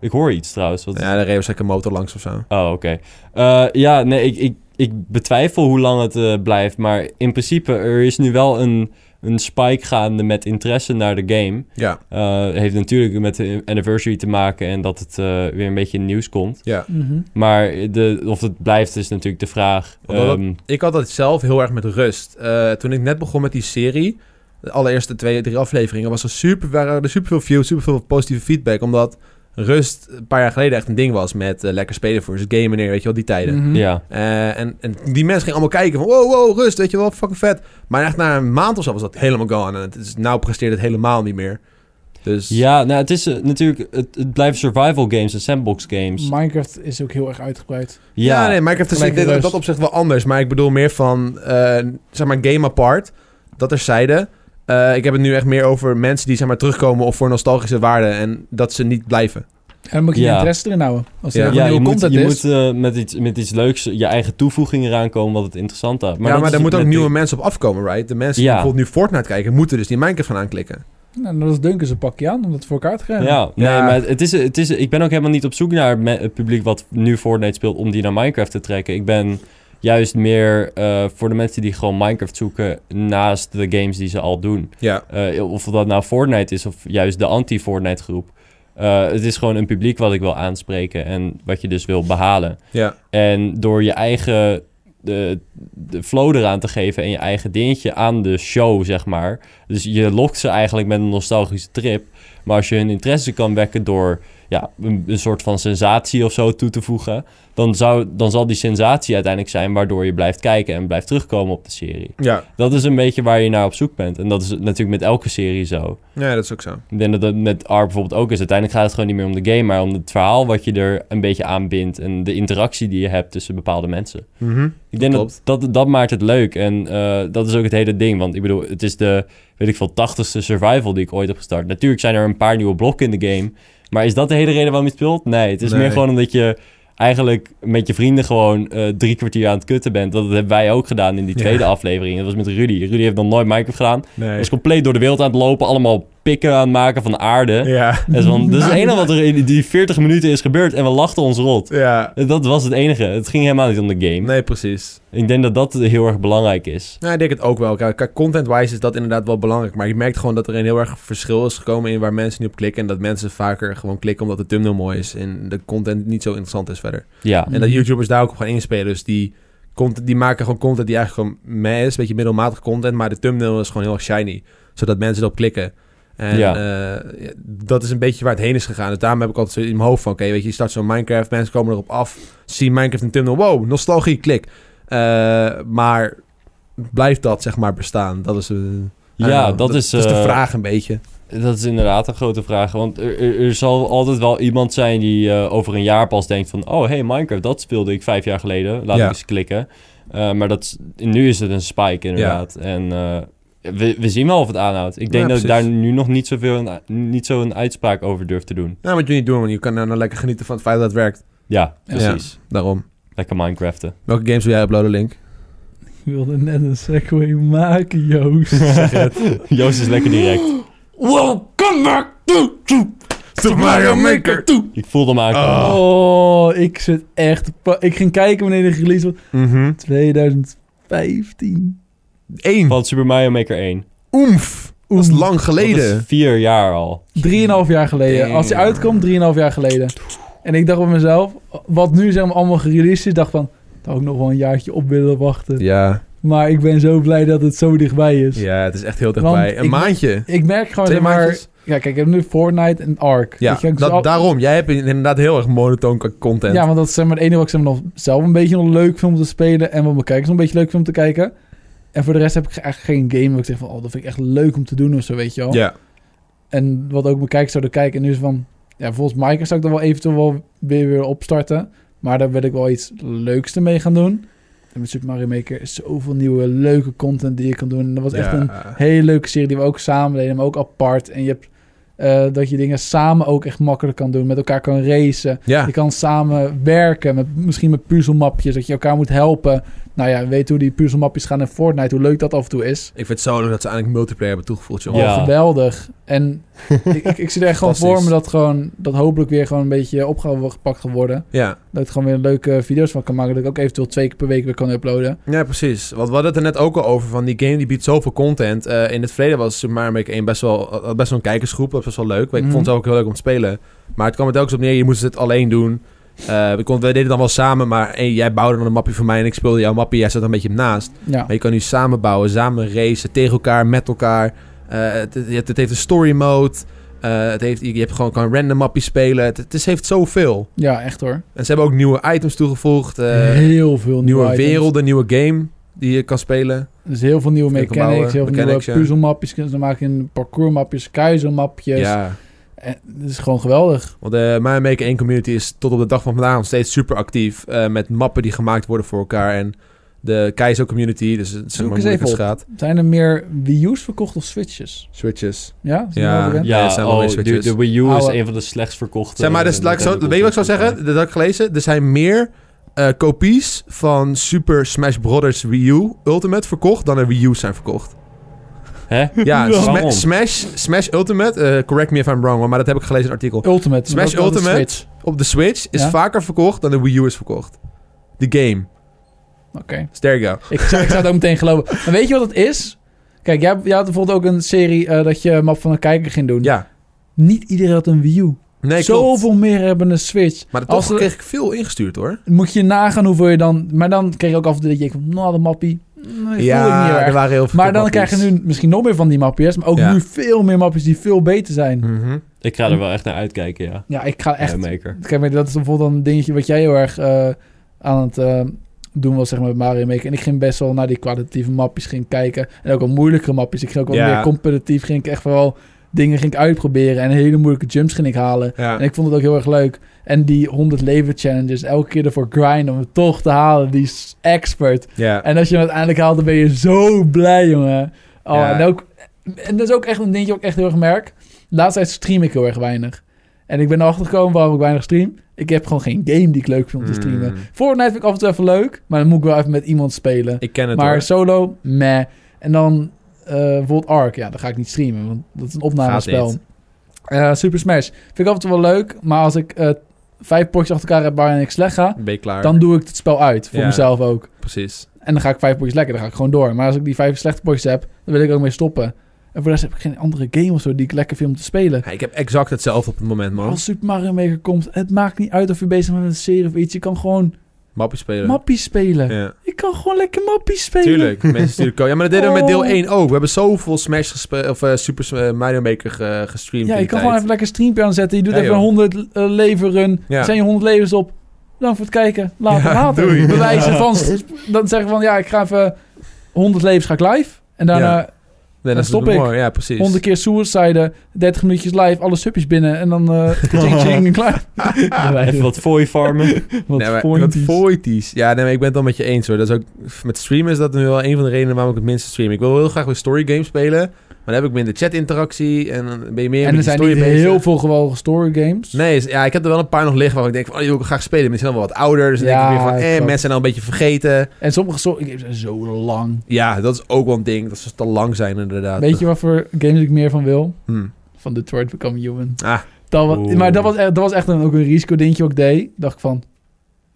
C: Ik hoor iets trouwens. Wat...
A: Ja, dan reed waarschijnlijk een motor langs of zo.
C: Oh, oké. Eh, ja, nee, ik, ik, ik betwijfel hoe lang het eh, blijft. Maar in principe, er is nu wel een, een spike gaande met interesse naar de game.
A: Ja,
C: Eh, heeft natuurlijk met de anniversary te maken en dat het eh, weer een beetje in het nieuws komt.
A: ja.
B: Mhm.
C: Maar de, of het blijft is natuurlijk de vraag.
A: Want dat-
C: Ehm,
A: Ik had dat zelf heel erg met rust. Eh, toen ik net begon met die serie, de allereerste twee, drie afleveringen, was er super, waren er super veel views, super veel positieve feedback. Omdat rust een paar jaar geleden echt een ding was met eh, lekker spelen voor zijn game neer, weet je wel, die tijden.
B: Mhm.
C: Ja,
A: Eh, en, en die mensen gingen allemaal kijken van wow, wow, rust, weet je wel, fucking vet. Maar echt na een maand of zo was dat helemaal gone. En het is, nou presteert het helemaal niet meer. Dus
C: ja nou, het is eh, natuurlijk. Het, het blijven survival games en sandbox games.
B: Minecraft is ook heel erg uitgebreid.
A: Ja,
C: ja,
A: nee, Minecraft is
B: Gelijk
A: in
B: rust.
A: dat opzicht wel anders. Maar ik bedoel meer van, eh, zeg maar, game apart. Dat er zijde. ik heb het nu echt meer over mensen die, zeg maar, terugkomen... of voor nostalgische waarden en dat ze niet blijven.
B: En dan moet je
C: Ja.
B: je interesse erin houden. Als er
A: Ja.
B: heel veel
C: Ja, je
B: nieuwe
C: moet,
B: content
C: je
B: is.
C: moet eh, met, iets, met iets leuks je eigen toevoegingen eraan komen wat het interessant houdt.
A: ja,
C: dat
A: maar
C: is
A: daar moeten ook
C: met
A: nieuwe
C: die-
A: mensen op afkomen, right? De mensen
C: Ja.
A: die bijvoorbeeld nu Fortnite kijken... moeten dus die Minecraft gaan aanklikken.
B: Nou, dat is Duncan zijn pakje aan om dat voor elkaar te krijgen.
C: eh, Ja, nee,
A: Ja.
C: maar het- het is, het is, ik ben ook helemaal niet op zoek naar me- het publiek wat nu Fortnite speelt om die naar Minecraft te trekken. Ik ben juist meer eh, voor de mensen die gewoon Minecraft zoeken naast de games die ze al doen.
A: Ja,
C: Eh, of dat nou Fortnite is of juist de anti-Fortnite groep. Eh, het is gewoon een publiek wat ik wil aanspreken en wat je dus wil behalen.
A: ja.
C: En door je eigen de, de flow eraan te geven en je eigen dingetje aan de show, zeg maar. Dus je lokt ze eigenlijk met een nostalgische trip. Maar als je hun interesse kan wekken door ja, een, een soort van sensatie of zo toe te voegen, dan, zou, dan zal die sensatie uiteindelijk zijn waardoor je blijft kijken en blijft terugkomen op de serie.
A: Ja,
C: Dat is een beetje waar je naar op zoek bent. En dat is natuurlijk met elke serie zo.
A: ja dat is ook zo.
C: Ik denk dat dat met AR bijvoorbeeld ook is. Uiteindelijk gaat het gewoon niet meer om de game, maar om het verhaal wat je er een beetje aan bindt. En de interactie die je hebt tussen bepaalde mensen.
A: Mhm.
C: Ik denk dat,
A: Klopt.
C: dat dat maakt het leuk. En eh, dat is ook het hele ding. Want ik bedoel, het is de, weet ik veel, tachtigste survival die ik ooit heb gestart. Natuurlijk zijn er een paar nieuwe blokken in de game. Maar is dat de hele reden waarom je het speelt? Nee, het is
A: Nee.
C: meer gewoon omdat je eigenlijk met je vrienden gewoon eh, drie kwartier aan het kutten bent. Dat hebben wij ook gedaan in die
A: Ja.
C: tweede aflevering. Dat was met Rudy. Rudy heeft nog nooit Minecraft gedaan.
A: Nee.
C: Was compleet door de wereld aan het lopen. Allemaal pikken aan het maken van aarde.
A: Ja,
C: En zo van, dat is het enige wat er in die 40 minuten is gebeurd. En we lachten ons rot.
A: ja.
C: Dat was het enige. Het ging helemaal niet om de game.
A: Nee, precies.
C: Ik denk dat dat heel erg belangrijk is.
A: Nou, ik denk het ook wel. Kijk, kijk, content-wise is dat inderdaad wel belangrijk. Maar je merkt gewoon dat er een heel erg verschil is gekomen in waar mensen nu op klikken. En dat mensen vaker gewoon klikken omdat de thumbnail mooi is. En de content niet zo interessant is verder.
C: Ja,
A: En dat
B: Mhm.
A: YouTubers daar ook op gaan inspelen. Dus die, content, die maken gewoon content die eigenlijk gewoon meh is. Een beetje middelmatig content. Maar de thumbnail is gewoon heel erg shiny. Zodat mensen erop klikken. En
C: Ja.
A: eh, ja, dat is een beetje waar het heen is gegaan. Dus daarom heb ik altijd zo in mijn hoofd van... Oké, weet je, je start zo'n Minecraft. Mensen komen erop af. Zien Minecraft en thumbnail. Wow, nostalgie, klik. Eh, maar blijft dat zeg maar bestaan? Dat is, eh, I don't
C: ja
A: know.
C: dat, is,
A: dat is de
C: eh,
A: vraag een beetje.
C: Dat is inderdaad een grote vraag. Want er, er, er zal altijd wel iemand zijn die eh, over een jaar pas denkt van... Oh, hey, Minecraft, dat speelde ik vijf jaar geleden. Laat
A: Ja.
C: ik eens klikken. Eh, maar dat, is- nu is het een spike inderdaad. En eh, we, we zien wel of het aanhoudt. Ik denk
A: Ja,
C: dat ik daar
A: precies.
C: nu nog niet, zoveel een, niet zo een uitspraak over durf te doen.
A: Nou, wat jullie doen, want je kan nou lekker genieten van het feit dat het werkt.
C: Ja, precies.
A: Daarom.
C: Lekker Minecraften.
A: Welke games wil jij uploaden, Link?
B: Ik wilde net een segue maken, Joost.
C: Joost is lekker direct.
B: Welcome back to... to-
A: Super Mario Maker!
B: to-
C: Ik voel hem aankomen.
A: Ah.
B: Oh, ik zit echt... te pa- Ik ging kijken wanneer de release was.
A: Mhm.
B: 2015.
A: Eén.
C: Van Super Mario Maker 1.
A: Oemf. Dat is
B: Oemf.
A: lang
C: Dat is
A: geleden.
C: vier jaar al.
B: Drieënhalf jaar geleden.
A: Damn.
B: Als hij uitkomt, drieënhalf jaar geleden. En ik dacht bij mezelf, wat nu zeg maar allemaal gereleased is, dacht van, dat ik nog wel een jaartje op willen wachten.
A: Ja.
B: Maar ik ben zo blij dat het zo dichtbij is.
A: ja, het is echt heel
B: Want
A: dichtbij. Een
B: ik-
A: maandje.
B: Ik merk gewoon,
A: Twee
B: zeg maar...
A: maandjes.
B: Ja, kijk, ik heb nu Fortnite en Ark.
A: Ja,
B: Weet je, ik
A: dat,
B: zal-
A: daarom. Jij hebt inderdaad heel erg monotoon co- content.
B: Ja, want dat is zeg maar het enige wat ik zeg maar, nog zelf een beetje nog leuk vind om te spelen. En wat mijn kijkers nog een beetje leuk vind om te kijken. En voor de rest heb ik echt geen game waar ik zeg van... Oh, dat vind ik echt leuk om te doen of zo, weet je wel.
A: Ja.
B: En wat ook mijn kijkers zouden kijken. En nu is van... Ja, volgens Mike zou ik dan wel eventueel wel weer, weer opstarten. Maar daar wil ik wel iets leuks mee gaan doen. En met Super Mario Maker is zoveel nieuwe leuke content die je kan doen. En dat was echt
A: Ja.
B: een hele leuke serie die we ook samen deden, maar ook apart. En je hebt eh, dat je dingen samen ook echt makkelijk kan doen. Met elkaar kan racen.
A: Ja.
B: Je kan samen werken, met, misschien met puzzelmapjes, dat je elkaar moet helpen. Nou ja, weet hoe die puzzelmapjes gaan in Fortnite, hoe leuk dat af en toe is.
A: Ik vind het zo leuk dat ze eindelijk multiplayer hebben toegevoegd, joh.
B: Oh,
C: Ja.
B: geweldig. En ik, ik, ik zie er echt gewoon voor me
A: Fantastisch.
B: dat gewoon, dat hopelijk weer gewoon een beetje opgepakt gaat worden.
A: Ja.
B: Dat ik gewoon weer leuke video's van kan maken, dat ik ook eventueel twee keer per week weer kan uploaden.
A: Ja, precies. Want we hadden het er net ook al over van die game die biedt zoveel content. Eh, in het verleden was Super Mario Maker 1 best wel, had best wel een kijkersgroep. Dat was wel leuk. Ik
B: Mhm.
A: vond het ook heel leuk om te spelen. Maar het kwam er telkens op neer, je moest het alleen doen. Eh, we, kon, we deden het dan wel samen, maar eh, jij bouwde dan een mapje voor mij en ik speelde jouw mapje. Jij zat een beetje naast.
B: Ja,
A: Maar je kan nu samen bouwen, samen racen, tegen elkaar, met elkaar. Eh, het, het, het heeft een story mode. Eh, het heeft, je je hebt gewoon kan random mapjes spelen. Het, het is, heeft zoveel.
B: ja echt hoor.
A: En ze hebben ook nieuwe items toegevoegd. eh,
B: Heel veel
A: nieuwe
B: items.
A: werelden, nieuwe game die je kan spelen.
B: Dus heel veel nieuwe
A: Stukken
B: mechanics,
A: bouwen,
B: heel veel
A: mechanics, ja.
B: nieuwe puzzelmapjes kunnen ze maken, parcoursmapjes, keizermapjes.
A: Ja.
B: En Het is gewoon geweldig.
A: Want eh, de Mario Maker 1 community is tot op de dag van vandaag nog steeds super actief. eh, met mappen die gemaakt worden voor elkaar. En de Keizo community, dus het is
B: Zoek
A: maar
B: eens
A: hoe
B: even
A: het
B: op.
A: gaat.
B: Zijn er meer Wii U's verkocht of Switches?
A: Switches.
B: Ja? Is dat
A: Ja.
B: wel bekend?
A: Ja,
C: Ja,
A: het zijn wel
C: oh,
A: weer
C: de,
A: switches.
C: de Wii U is
B: Oude-
C: een van de slechts verkochte. eh,
A: Zeg maar, dus, laat ik zo, weet je wat ik zou zeggen? Dat had ik gelezen. Er zijn meer eh, kopies van Super Smash Brothers Wii U Ultimate verkocht dan er Wii U's zijn verkocht.
C: Hè?
A: Ja, Sma-
C: Waarom?
A: Smash, Smash Ultimate, eh, correct me if I'm wrong, hoor, maar dat heb ik gelezen in een artikel.
B: Ultimate.
A: Smash
B: dat is wel de
A: Ultimate?
B: Switch.
A: Op de Switch is
B: Ja?
A: vaker verkocht dan de Wii U is verkocht. De game.
B: Oké.
A: Dus there you go.
B: Ik, zou- ik zou het ook meteen geloven. Maar weet je wat het is? Kijk, jij, jij had bijvoorbeeld ook een serie eh, dat je map van een kijker ging doen.
A: Ja.
B: Niet iedereen had een Wii U.
A: Nee, klopt.
B: Zoveel meer hebben een Switch.
A: Maar
B: Als
A: toch
B: er-
A: kreeg ik veel ingestuurd, hoor.
B: Moet je nagaan hoeveel je dan... Maar dan kreeg je ook af en toe dat je denkt, nou, de mappie... Nee, voel ik niet erg.
A: waren heel veel
B: Maar dan
A: mappies.
B: krijg je nu misschien nog meer van die mapjes. Maar ook
A: Ja.
B: nu veel meer mapjes die veel beter zijn.
A: Mhm.
C: Ik ga er wel echt naar uitkijken, ja.
B: Ja, ik ga echt...
C: Mario Maker.
B: Kijk, maar dat is bijvoorbeeld een dingetje wat jij heel erg eh, aan het eh, doen was, zeg maar, met Mario Maker. En ik ging best wel naar die kwalitatieve mapjes ging kijken. En ook al moeilijkere mapjes. Ik ging ook wel
A: Ja.
B: meer competitief. Ging ik echt wel dingen ging ik uitproberen. En hele moeilijke jumps ging ik halen.
A: Ja.
B: En ik vond het ook heel erg leuk. En die 100 leven challenges, elke keer ervoor grinden om het toch te halen. Die is expert.
A: ja.
B: En als je hem uiteindelijk haalt, dan ben je zo blij, jongen. Oh,
A: Ja.
B: en, ook, en dat is ook echt een dingetje wat ik echt heel erg merk. De laatste tijd stream ik heel erg weinig. En ik ben erachter gekomen waarom ik weinig stream. Ik heb gewoon geen game die ik leuk vind om te streamen.
A: Mm.
B: Fortnite vind ik af en toe even leuk, maar dan moet ik wel even met iemand spelen.
A: Ik ken het,
B: maar
A: hoor.
B: solo, meh. En dan eh bijvoorbeeld Ark, ja, dan ga ik niet streamen, want dat is een opnamespel.
A: Gaat niet.
B: Eh, Super Smash vind ik af en toe wel leuk, maar als ik eh, vijf potjes achter elkaar heb waarin ik slecht ga,
A: Ben je klaar?
B: dan doe ik het spel uit, voor
A: Ja.
B: mezelf ook.
A: Precies.
B: En dan ga ik vijf potjes lekker, dan ga ik gewoon door. Maar als ik die vijf slechte potjes heb, dan wil ik ook mee stoppen. En voor de rest heb ik geen andere game of zo die ik lekker vind om te spelen.
A: Ja, ik heb exact hetzelfde op het moment, man.
B: Als Super Mario Maker komt, het maakt niet uit of je bezig bent met een serie of iets. Je kan gewoon
A: Mappies spelen.
B: mappies spelen.
A: ja.
B: Je kan gewoon lekker mappies spelen.
A: Tuurlijk, mensen sturen code. Ja, maar dat deden we met deel
B: Oh.
A: 1 ook. We hebben zoveel Smash gespe- of eh, Super eh, Mario Maker ge- gestreamd.
B: Ja,
A: in
B: je
A: die
B: kan
A: tijd.
B: gewoon even lekker streampje aanzetten. Je doet
A: Ja,
B: even een
A: joh.
B: 100 eh, leven run.
A: Ja.
B: Zijn je 100 levens op. Bedankt voor het kijken. Later,
A: Ja,
B: later.
A: doei.
B: Bewijzen van... Dan zeggen van, ja, ik ga even 100 levens ga ik live. En daarna
A: Nee,
B: Dan
A: dat is
B: stop
A: wel
B: ik.
A: mooi. Ja, precies.
B: 100 keer suicide, 30 minuutjes live, alle subjes binnen en dan eh ching ching en klaar.
C: Even wat fooi farmen.
B: wat
A: Nee, maar-
B: pointies.
A: wat voities. Ja, nee, maar ik ben het dan met je eens hoor. Dat is ook, met streamen is dat nu wel een van de redenen waarom ik het minste stream. Ik wil heel graag weer story games spelen. Maar dan heb ik minder chat-interactie. En dan ben je meer met
B: En er
A: die
B: zijn
A: story
B: niet
A: bezig.
B: heel veel geweldige story games.
A: Nee, is- ja, ik heb er wel een paar nog liggen waar ik denk van... Oh, die wil ik graag spelen. Maar die zijn dan wel wat ouder. Dus dan
B: Ja,
A: denk ik weer van... Eh,
B: klopt.
A: mensen zijn al een beetje vergeten.
B: En sommige story games zijn zo lang.
A: Ja, dat is ook wel een ding. Dat ze te lang zijn inderdaad.
B: Weet je wat voor games ik meer van wil?
A: Hm.
B: Van Detroit Become Human.
A: Ah.
B: Dat wa-
C: Oeh.
B: maar dat was, echt- dat was echt een, ook een risico dingetje wat ik deed. Dacht ik van,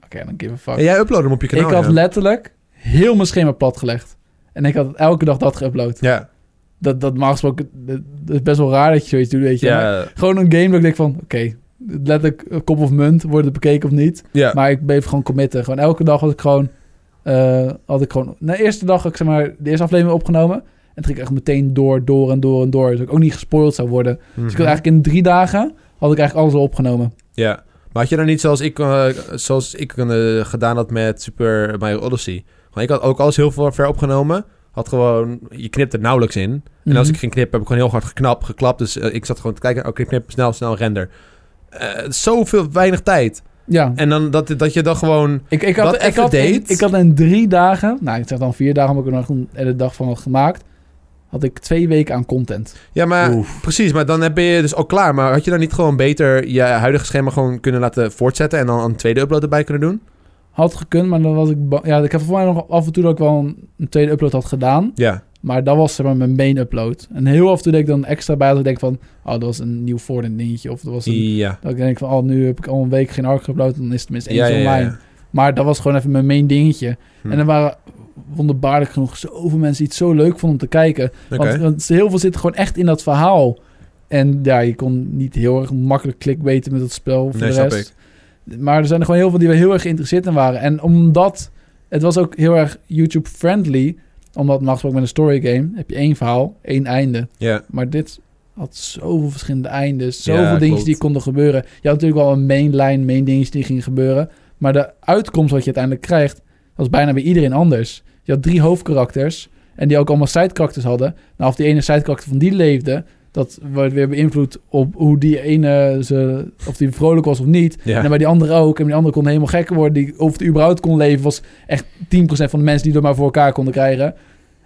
B: oké, dan give a fuck.
A: En jij upload hem op je kanaal.
B: ik had
A: ja.
B: letterlijk heel mijn schema platgelegd. En ik had elke dag dat geüpload.
A: ja,
B: Dat, dat normaal gesproken, dat, dat is best wel raar dat je zoiets doet, weet je. Maar
A: ja,
B: Gewoon een game dat ik denk van, oké, letterlijk eh, kop of munt, wordt het bekeken of niet.
A: ja.
B: Maar ik bleef gewoon committen. Gewoon elke dag had ik gewoon, eh, had ik gewoon, na de eerste dag had ik zeg maar de eerste aflevering opgenomen. En toen ging ik echt meteen door, door en door en door. Dus ik ook niet gespoild zou worden. Dus ik had
A: Mhm.
B: eigenlijk in drie dagen, had ik eigenlijk alles al opgenomen.
A: Ja, maar had je dan niet zoals ik, eh, zoals ik eh, gedaan had met Super Mario Odyssey? Want ik had ook alles heel veel ver opgenomen. Had had gewoon... Je knipt er nauwelijks in.
B: Mhm.
A: En als ik ging knippen, heb ik gewoon heel hard geknapt, geklapt. Dus eh, ik zat gewoon te kijken, oké, knip, snel, snel, render. Eh, zoveel weinig tijd.
B: Ja.
A: En dan dat, dat je dan gewoon...
B: Ik, ik, had,
A: dat
B: ik,
A: even
B: had in,
A: deed.
B: ik had in drie dagen, nou ik zeg dan vier dagen, maar ik heb er nog een hele dag van had gemaakt, had ik twee weken aan content.
A: Ja, maar
C: Oef.
A: precies. Maar dan heb je dus al klaar. Maar had je dan niet gewoon beter je huidige schema gewoon kunnen laten voortzetten... en dan een tweede upload erbij kunnen doen?
B: Had gekund, maar dan was ik bang. Ja, ik heb voor mij nog af en toe dat ik wel een, een tweede upload had gedaan,
A: Ja.
B: maar dat was zeg maar mijn main upload. En heel af en toe denk ik dan extra bij dat ik denk van, oh dat was een nieuw Fortnite dingetje, of dat was een...
A: Ja.
B: Dat ik denk van, oh nu heb ik al een week geen ARK geüpload, dan is het tenminste
A: Ja,
B: eentje
A: ja, ja,
B: online.
A: ja.
B: Maar dat was gewoon even mijn main dingetje.
A: Hm.
B: En er waren wonderbaarlijk genoeg zoveel mensen die het zo leuk vonden om te kijken.
A: Oké.
B: Want, want heel veel zitten gewoon echt in dat verhaal. En ja, je kon niet heel erg makkelijk clickbaiten met dat spel. Voor
A: Nee,
B: de
A: snap
B: rest. Maar er zijn er gewoon heel veel die we heel erg geïnteresseerd in waren. En omdat het was ook heel erg YouTube-friendly. Omdat normaal gesproken met een story game heb je één verhaal, één einde.
A: Ja.
B: Maar dit had zoveel verschillende eindes. Zoveel
A: Ja,
B: dingetjes
A: klopt.
B: die konden gebeuren. Je had natuurlijk wel een mainline, main dingetjes die gingen gebeuren. Maar de uitkomst wat je uiteindelijk krijgt, was bijna bij iedereen anders. Je had drie hoofdkarakters. En die ook allemaal sidekarakters hadden. Nou, of die ene sidekarakter van die leefde, dat wordt weer beïnvloed op hoe die ene, ze, of die vrolijk was of niet.
A: Ja.
B: En bij die andere ook. En die andere kon helemaal gek worden. Die, of het überhaupt kon leven, was echt 10% van de mensen die dat maar voor elkaar konden krijgen.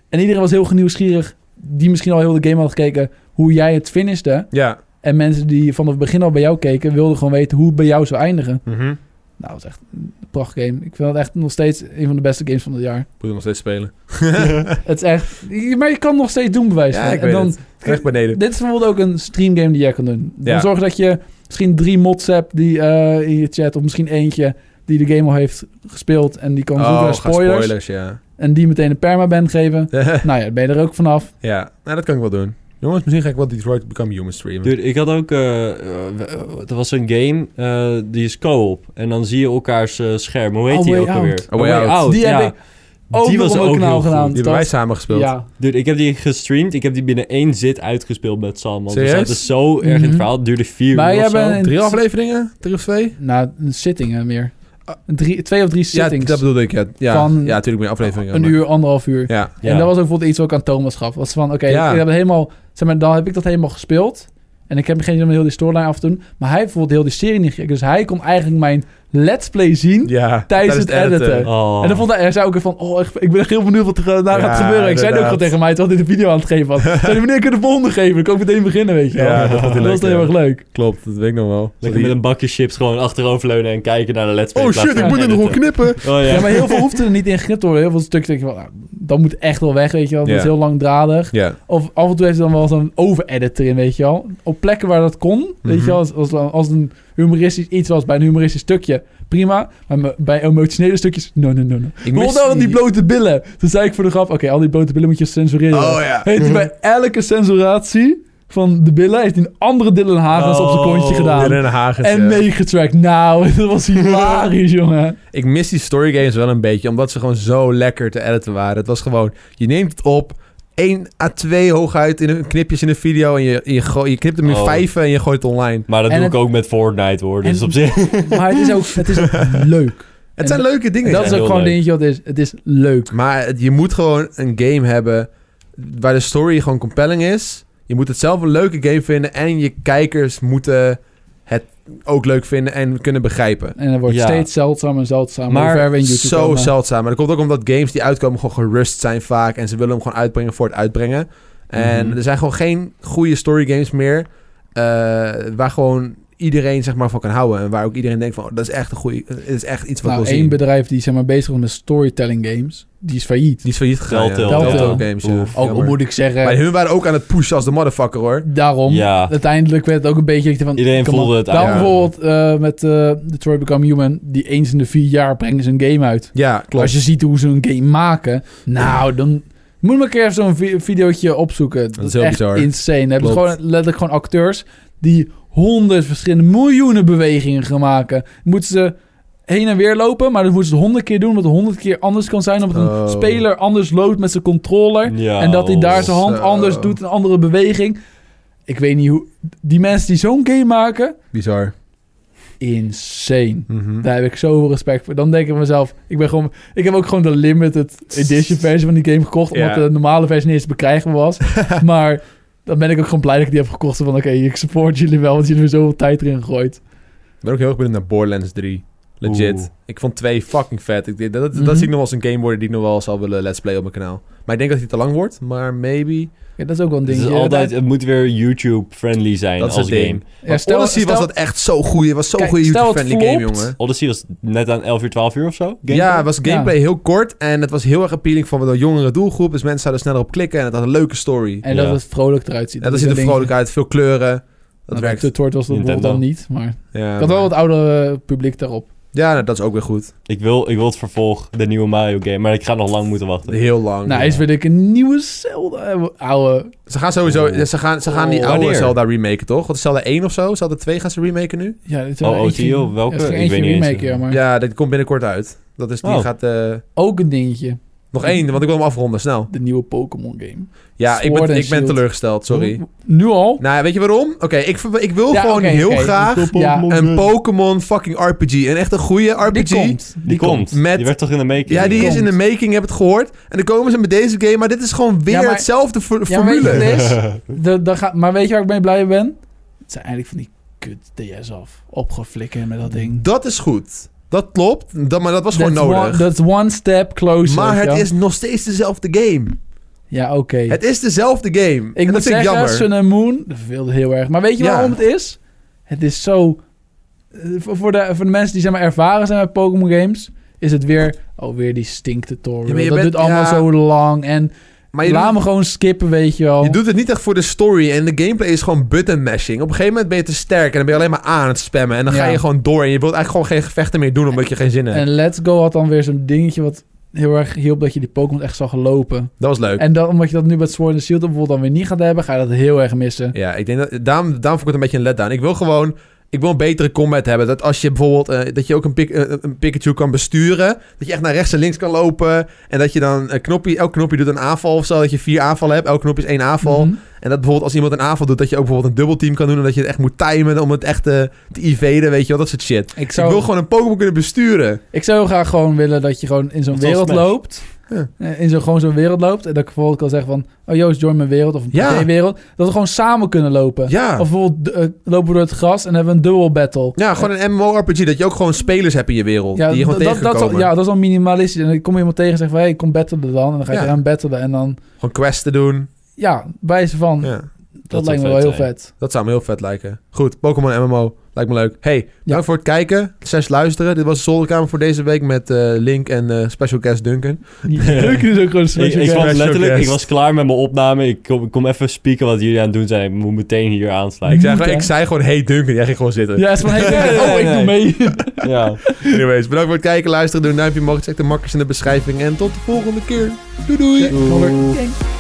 B: En iedereen was heel nieuwsgierig, die misschien al heel de game had gekeken, hoe jij het finishte.
A: Ja.
B: En mensen die vanaf het begin al bij jou keken, wilden gewoon weten hoe het bij jou zou eindigen.
A: Mhm. Ik
B: Nou, dat is echt een prachtgame. Ik vind het echt nog steeds een van de beste games van het jaar.
A: moet het nog steeds spelen.
B: Het is echt... je- Maar je kan het nog steeds doen, bewijs
A: Ja,
B: van.
A: ik
B: en
A: weet
B: dan,
A: het. Recht beneden.
B: Dit is bijvoorbeeld ook een streamgame die jij kan doen. Dan
A: Ja.
B: zorg dat je misschien drie mods hebt die eh, in je chat, of misschien eentje die de game al heeft gespeeld en die kan zoeken naar
A: Oh, ga
B: spoilers,
A: spoilers, ja.
B: En die meteen een permaban geven. nou ja, dan ben je er ook vanaf.
A: ja, nou, dat kan ik wel doen. Jongens, misschien ga ik wel Detroit Become Human streamen.
C: Dude, ik had ook... eh, eh, w- er was een game, eh, die is co-op. En dan zie je elkaars eh, scherm. Hoe heet
B: A
C: die
B: Way
C: ook
B: Out.
C: alweer?
A: A Way Out.
B: Die heb
C: ja.
B: ik ook
C: die
B: nog
C: was
B: op
C: ook
B: mijn kanaal
C: heel goed.
B: gedaan.
A: die hebben wij samen gespeeld.
B: Ja.
C: Dude, ik heb die gestreamd. Ik heb die binnen één zit uitgespeeld met Sam. Want we
A: Serieus?
C: zaten zo erg in
B: Mhm.
C: het verhaal. Het duurde vier
B: Wij
C: uur of
B: hebben
C: zo.
A: Drie afleveringen? Drie of twee?
B: Nou, een zittingen meer. Een drie, twee of drie
A: Ja,
B: sittings.
A: dat bedoelde ik. Ja, ja,
B: Van
A: ja natuurlijk meer afleveringen.
B: een
A: maar-
B: uur, anderhalf uur.
A: Ja.
C: Ja.
B: En dat was ook bijvoorbeeld iets wat ik aan Thomas gaf. Was van, oké,
A: Ja.
B: ik heb het helemaal, zeg maar, dan heb ik dat helemaal gespeeld. En ik heb geen zin om heel die storyline af te doen. Maar hij heeft bijvoorbeeld heel die serie niet gekeken. Dus hij kon eigenlijk mijn let's play zien.
A: ja.
B: het editen.
C: Oh.
B: En dan vond hij, hij zei ook weer van, oh, ik, ik ben echt heel benieuwd wat er eh, daar
A: Ja,
B: gaat gebeuren. Ik zei het ook
A: inderdaad.
B: gewoon tegen mij, terwijl hij de video aan het geven was. Zei hij, meneer, ik kan de volgende geven. Dan kan ik meteen beginnen, weet je wel.
A: Ja, dat vond hij leuk,
B: was heel
A: ja.
B: erg leuk.
A: Klopt, dat weet ik nog wel.
C: Lekker met een bakje chips gewoon achteroverleunen en kijken naar de let's play.
A: Oh
C: in plaats
A: shit, ik
C: van
A: moet er nog wel
C: editen.
A: knippen.
C: Oh ja.
B: Ja. maar heel veel hoefde er niet in geknipt te worden. Heel veel stukken denk je van, nou, dat moet echt wel weg, weet je wel. Dat is
A: Ja.
B: heel langdradig.
A: Ja,
B: Of af en toe heeft hij dan wel zo'n over-edit erin, weet je wel. Op plekken waar dat kon, weet
A: Mhm.
B: je wel. Als, als, als een humoristisch iets was bij een humoristisch stukje, prima. Maar me- bij emotionele stukjes, no, no, no, no.
A: ik
B: Bijvoorbeeld
A: mis
B: dan die blote billen. Toen zei ik voor de grap, oké, al die blote billen moet je censureren.
A: Oh ja.
B: Heeft hij bij elke censuratie van de billen, heeft hij een andere Dylan Hagens op zijn
C: Oh,
B: kontje gedaan.
A: Dylan Hagens,
B: en
A: ja.
B: meegetrackt. Nou, dat was hilarisch, jongen.
A: Ik mis die storygames wel een beetje, omdat ze gewoon zo lekker te editen waren. Het was gewoon, je neemt het op, 1 à 2 hooguit in een knipjes in een video en je, je, gooi- je knipt hem in
C: Oh.
A: vijven en je gooit het online.
C: Maar dat
B: En
C: doe
B: het-
C: ik ook met Fortnite hoor. Dus
B: en-
C: op zich.
B: Maar het is ook, het is ook leuk.
A: Het zijn leuke dingen.
B: Dat is
C: heel
B: ook gewoon een
C: leuk.
B: dingetje wat het is. Het is leuk.
A: Maar het- je moet gewoon een game hebben waar de story gewoon compelling is. Je moet het zelf een leuke game vinden en je kijkers moeten het ook leuk vinden en kunnen begrijpen.
B: En het wordt
C: Ja.
B: steeds zeldzamer en zeldzamer.
C: Maar
B: hoe ver we in YouTube
A: Zo
B: komen.
A: zeldzaam. Maar dat komt ook omdat games die uitkomen gewoon gerust zijn vaak en ze willen hem gewoon uitbrengen voor het uitbrengen. En
C: Mhm.
A: er zijn gewoon geen goede story games meer eh, waar gewoon iedereen zeg maar van kan houden en waar ook iedereen denkt van oh, dat is echt een goede, dat is echt iets wat
B: nou,
A: ik
B: één
A: wil zien.
B: bedrijf die zeg maar, bezig was met storytelling games, die is failliet.
A: Die is failliet gegaan. ja.
C: Telltale.
A: Telltale games. Ja.
C: Oef,
B: ook al
A: Jammer.
B: moet ik zeggen,
A: Maar hun waren ook aan het pushen als de motherfucker hoor.
B: daarom.
C: Ja.
B: Uiteindelijk werd het ook een beetje... ik dacht Van,
C: Iedereen
B: come on.
C: voelde het
B: Daarom
A: aan.
B: bijvoorbeeld eh, met eh Detroit Become Human, die eens in de vier jaar brengen ze een game uit.
A: Ja, klopt.
B: Als je ziet hoe ze een game maken, nou dan... Moet je maar een keer even zo'n vi- videootje opzoeken. Dat,
A: is
B: is
A: heel
B: echt
A: bizar.
B: insane. Dan hebben ze
A: Klopt.
B: gewoon, letterlijk gewoon acteurs die honderd verschillende miljoenen bewegingen gaan maken. Dan Moeten ze heen en weer lopen, maar dan moeten ze het honderd keer doen, omdat het honderd keer anders kan zijn, omdat een
A: Oh.
B: speler anders loopt met zijn controller.
C: Ja, oh.
B: En dat hij daar zijn hand
A: Nou, Zo.
B: anders doet, een andere beweging. Ik weet niet hoe... Die mensen die zo'n game maken...
A: Bizar.
B: insane.
A: Mhm.
B: Daar heb ik zoveel respect voor. Dan denk ik bij mezelf, ik ben gewoon... Ik heb ook gewoon de limited edition versie van die game gekocht. Omdat
A: Ja.
B: de normale versie niet eens bekrijgbaar was. maar dan ben ik ook gewoon blij dat ik die heb gekocht. Zo Van oké, ik support jullie wel, want jullie hebben zoveel tijd erin gegooid.
A: Ik ben ook heel erg benieuwd naar Borderlands 3. Legit.
C: Oeh.
A: Ik vond 2 fucking vet. Ik, dat dat,
B: Mhm.
A: dat zie ik nog wel eens een game worden die ik nog wel zal willen let's play op mijn kanaal. Maar ik denk dat die te lang wordt, maar maybe.
B: Ja, dat is ook wel een
C: Het,
B: ding.
C: is altijd, het moet weer YouTube-friendly zijn
A: Dat is
C: als
A: het
C: game.
A: ding. Want Odyssey was dat echt zo goed. Het was zo'n
B: Kijk,
A: goede
B: stel het
A: YouTube-friendly game,
B: flopt.
A: jongen.
C: Odyssey was net aan 11 uur, 12 uur of zo. gameplay.
A: Ja, het was
B: Ja.
A: gameplay heel kort en het was heel erg appealing voor een jongere doelgroep. Dus mensen zouden sneller op klikken en het had een leuke story.
B: En dat
C: Ja.
B: het vrolijk eruit ziet.
A: En dat ziet er
B: is een
A: vrolijk uit, veel kleuren. Dat
B: ding.
A: werkt.
B: Nou, bij Tortoise was dat
C: Nintendo.
B: bijvoorbeeld dan niet, maar...
A: Ja,
B: Ik had wel
A: maar-
B: wat ouder eh, publiek daarop.
A: ja nou, dat is ook weer goed.
C: Ik, wil, ik wil het vervolg, de nieuwe Mario game. Maar ik ga nog lang moeten wachten.
A: Heel lang.
B: nou,
A: ja.
B: eens wil ik een nieuwe Zelda hebben. Oude.
A: Ze gaan sowieso...
C: Oh.
A: Ze gaan, ze gaan die
C: Oh.
A: oude
C: Wanneer?
A: Zelda remaken, toch? Want Zelda 1 of zo? Zelda 2 gaan ze remaken nu?
B: Ja, dit is
C: Oh,
B: wel
C: oh,
B: eentje-
C: zie je wel, welke?
B: Ja, het is
C: Ik
B: eentje
C: weet niet eens.
B: remake, ja, maar
A: Ja, dat komt binnenkort uit. Dat is, die
C: Oh.
A: gaat... eh,
B: ook een dingetje.
A: nog één, want ik wil hem afronden, snel.
B: De nieuwe Pokémon game.
A: Ja, ik
B: Sword
A: ben,
B: and
A: ik ben
B: Shield.
A: teleurgesteld, sorry.
B: Nu al?
A: Nou, weet je waarom? Oké, ik, ver- ik wil
B: Ja,
A: gewoon
B: oké,
A: heel
B: oké.
A: graag
B: Ja,
A: een Pokémon fucking RPG. Een echt een goede RPG.
B: Die komt.
C: Die komt.
A: Met-
C: Die werd toch in de making?
A: Ja, die is in
B: komt.
A: de making, heb het gehoord. En dan komen ze met deze game, maar dit is gewoon weer
B: Ja, maar-
A: hetzelfde fo-
B: Ja, maar weet je
A: formule.
B: wat het is? De, de ga- maar weet je waar ik mee blij mee ben? Het zijn eigenlijk van die kut DS af. Opgeflikken met dat ding.
A: Dat is goed. Dat klopt, dat, maar dat was gewoon
B: That's one-
A: nodig.
B: That's one step closer.
A: maar
B: weet
A: het
B: je wel?
A: is nog steeds dezelfde game.
B: Ja, oké.
A: Het is dezelfde game.
B: Ik
A: en dat
B: moet
A: vind ik
B: zeggen,
A: jammer.
B: Sun and Moon, dat verveelde heel erg. Maar weet je
A: Ja.
B: waarom het is? Het is zo... eh, Voor voor de, voor de mensen die zeg maar, ervaren zijn met Pokémon games... is het weer... Oh, weer die stinktutorial.
A: Ja, maar
B: dat
A: je bent-
B: duurt allemaal
A: ja.
B: zo lang. En
A: Maar je
B: laat
A: doet,
B: me gewoon skippen, weet je wel.
A: je doet het niet echt voor de story. En de gameplay is gewoon button mashing. Op een gegeven moment ben je te sterk. En dan ben je alleen maar aan het spammen. En dan ga
B: Ja.
A: je gewoon door. En je wilt eigenlijk gewoon geen gevechten meer doen. Omdat je geen zin hebt.
B: En Let's Go had dan weer zo'n dingetje wat heel erg hielp... dat je die Pokémon echt zag lopen.
A: Dat was leuk.
B: En dan, omdat je dat nu met Sword and Shield bijvoorbeeld dan weer niet gaat hebben... ga je dat heel erg missen.
A: Ja, ik denk dat, daarom, daarom vond ik het een beetje een letdown. Ik wil gewoon, ik wil een betere combat hebben. Dat als je bijvoorbeeld, eh, dat je ook een, pik, eh, een Pikachu kan besturen. Dat je echt naar rechts en links kan lopen. En dat je dan een knopje, elk knopje doet een aanval of zo. Dat je vier aanvallen hebt, elk knopje is één aanval.
B: Mhm.
A: En dat bijvoorbeeld als iemand een aanval doet, dat je ook bijvoorbeeld een dubbelteam kan doen. En dat je het echt moet timen om het echt eh, te evaden, weet je wel. Dat soort shit.
B: Ik
A: Ik
B: zou,
A: wil gewoon een Pokémon kunnen besturen.
B: ik zou heel graag gewoon willen dat je gewoon in zo'n
C: Dat was
B: wereld
C: Smash.
B: loopt...
A: Ja.
B: Eh, in zo'n gewoon zo'n wereld loopt. En dat ik bijvoorbeeld kan zeggen van... Oh Joost, join mijn wereld. Of een
A: Ja.
B: wereld. Dat we gewoon samen kunnen lopen.
A: Ja.
B: Of bijvoorbeeld eh, lopen we door het gras en hebben we een dubbel battle. Eh,
A: ja, gewoon een MMORPG. Dat je ook gewoon spelers hebt in je wereld. die je gewoon
B: dat,
A: tegen kan
B: dat, is al-
A: komen.
B: ja, dat is al minimalistisch. En dan kom je iemand tegen en zegt van... Hé, hey, kom battelen dan. En dan ga je
A: Ja.
B: eraan battelen. En dan...
A: Gewoon questen doen.
B: Ja, bij ze van...
A: Ja.
B: dat,
C: zou
B: lijkt me wel
C: vet
B: heel
C: zijn.
B: vet.
A: Dat zou me heel vet lijken. Goed, Pokémon MMO. Lijkt me leuk. Hey, bedankt
B: Ja.
A: voor het kijken. Zes luisteren. Dit was de zolderkamer voor deze week met eh, Link en eh, special guest Duncan.
B: Leuk is ook gewoon een
C: Ik,
B: special
C: ik was
A: guest.
C: letterlijk, ik
A: Guest.
C: was klaar met mijn opname. Ik kom, ik kom even spieken wat jullie aan het doen zijn. Ik moet meteen hier
A: Ik
C: aansluiten.
A: zei,
B: Moet,
A: gewoon-
B: hè?
A: ik zei gewoon, hey Duncan. Jij ging gewoon zitten.
B: Ja, is van... Hey,
C: Nee,
B: oh, ik
C: nee,
B: doe mee.
C: Ja.
A: Anyways, bedankt voor het kijken, luisteren. Doe een duimpje omhoog. Check de makkers in de beschrijving. En tot de volgende keer. Doei doei.
B: Check. Doei.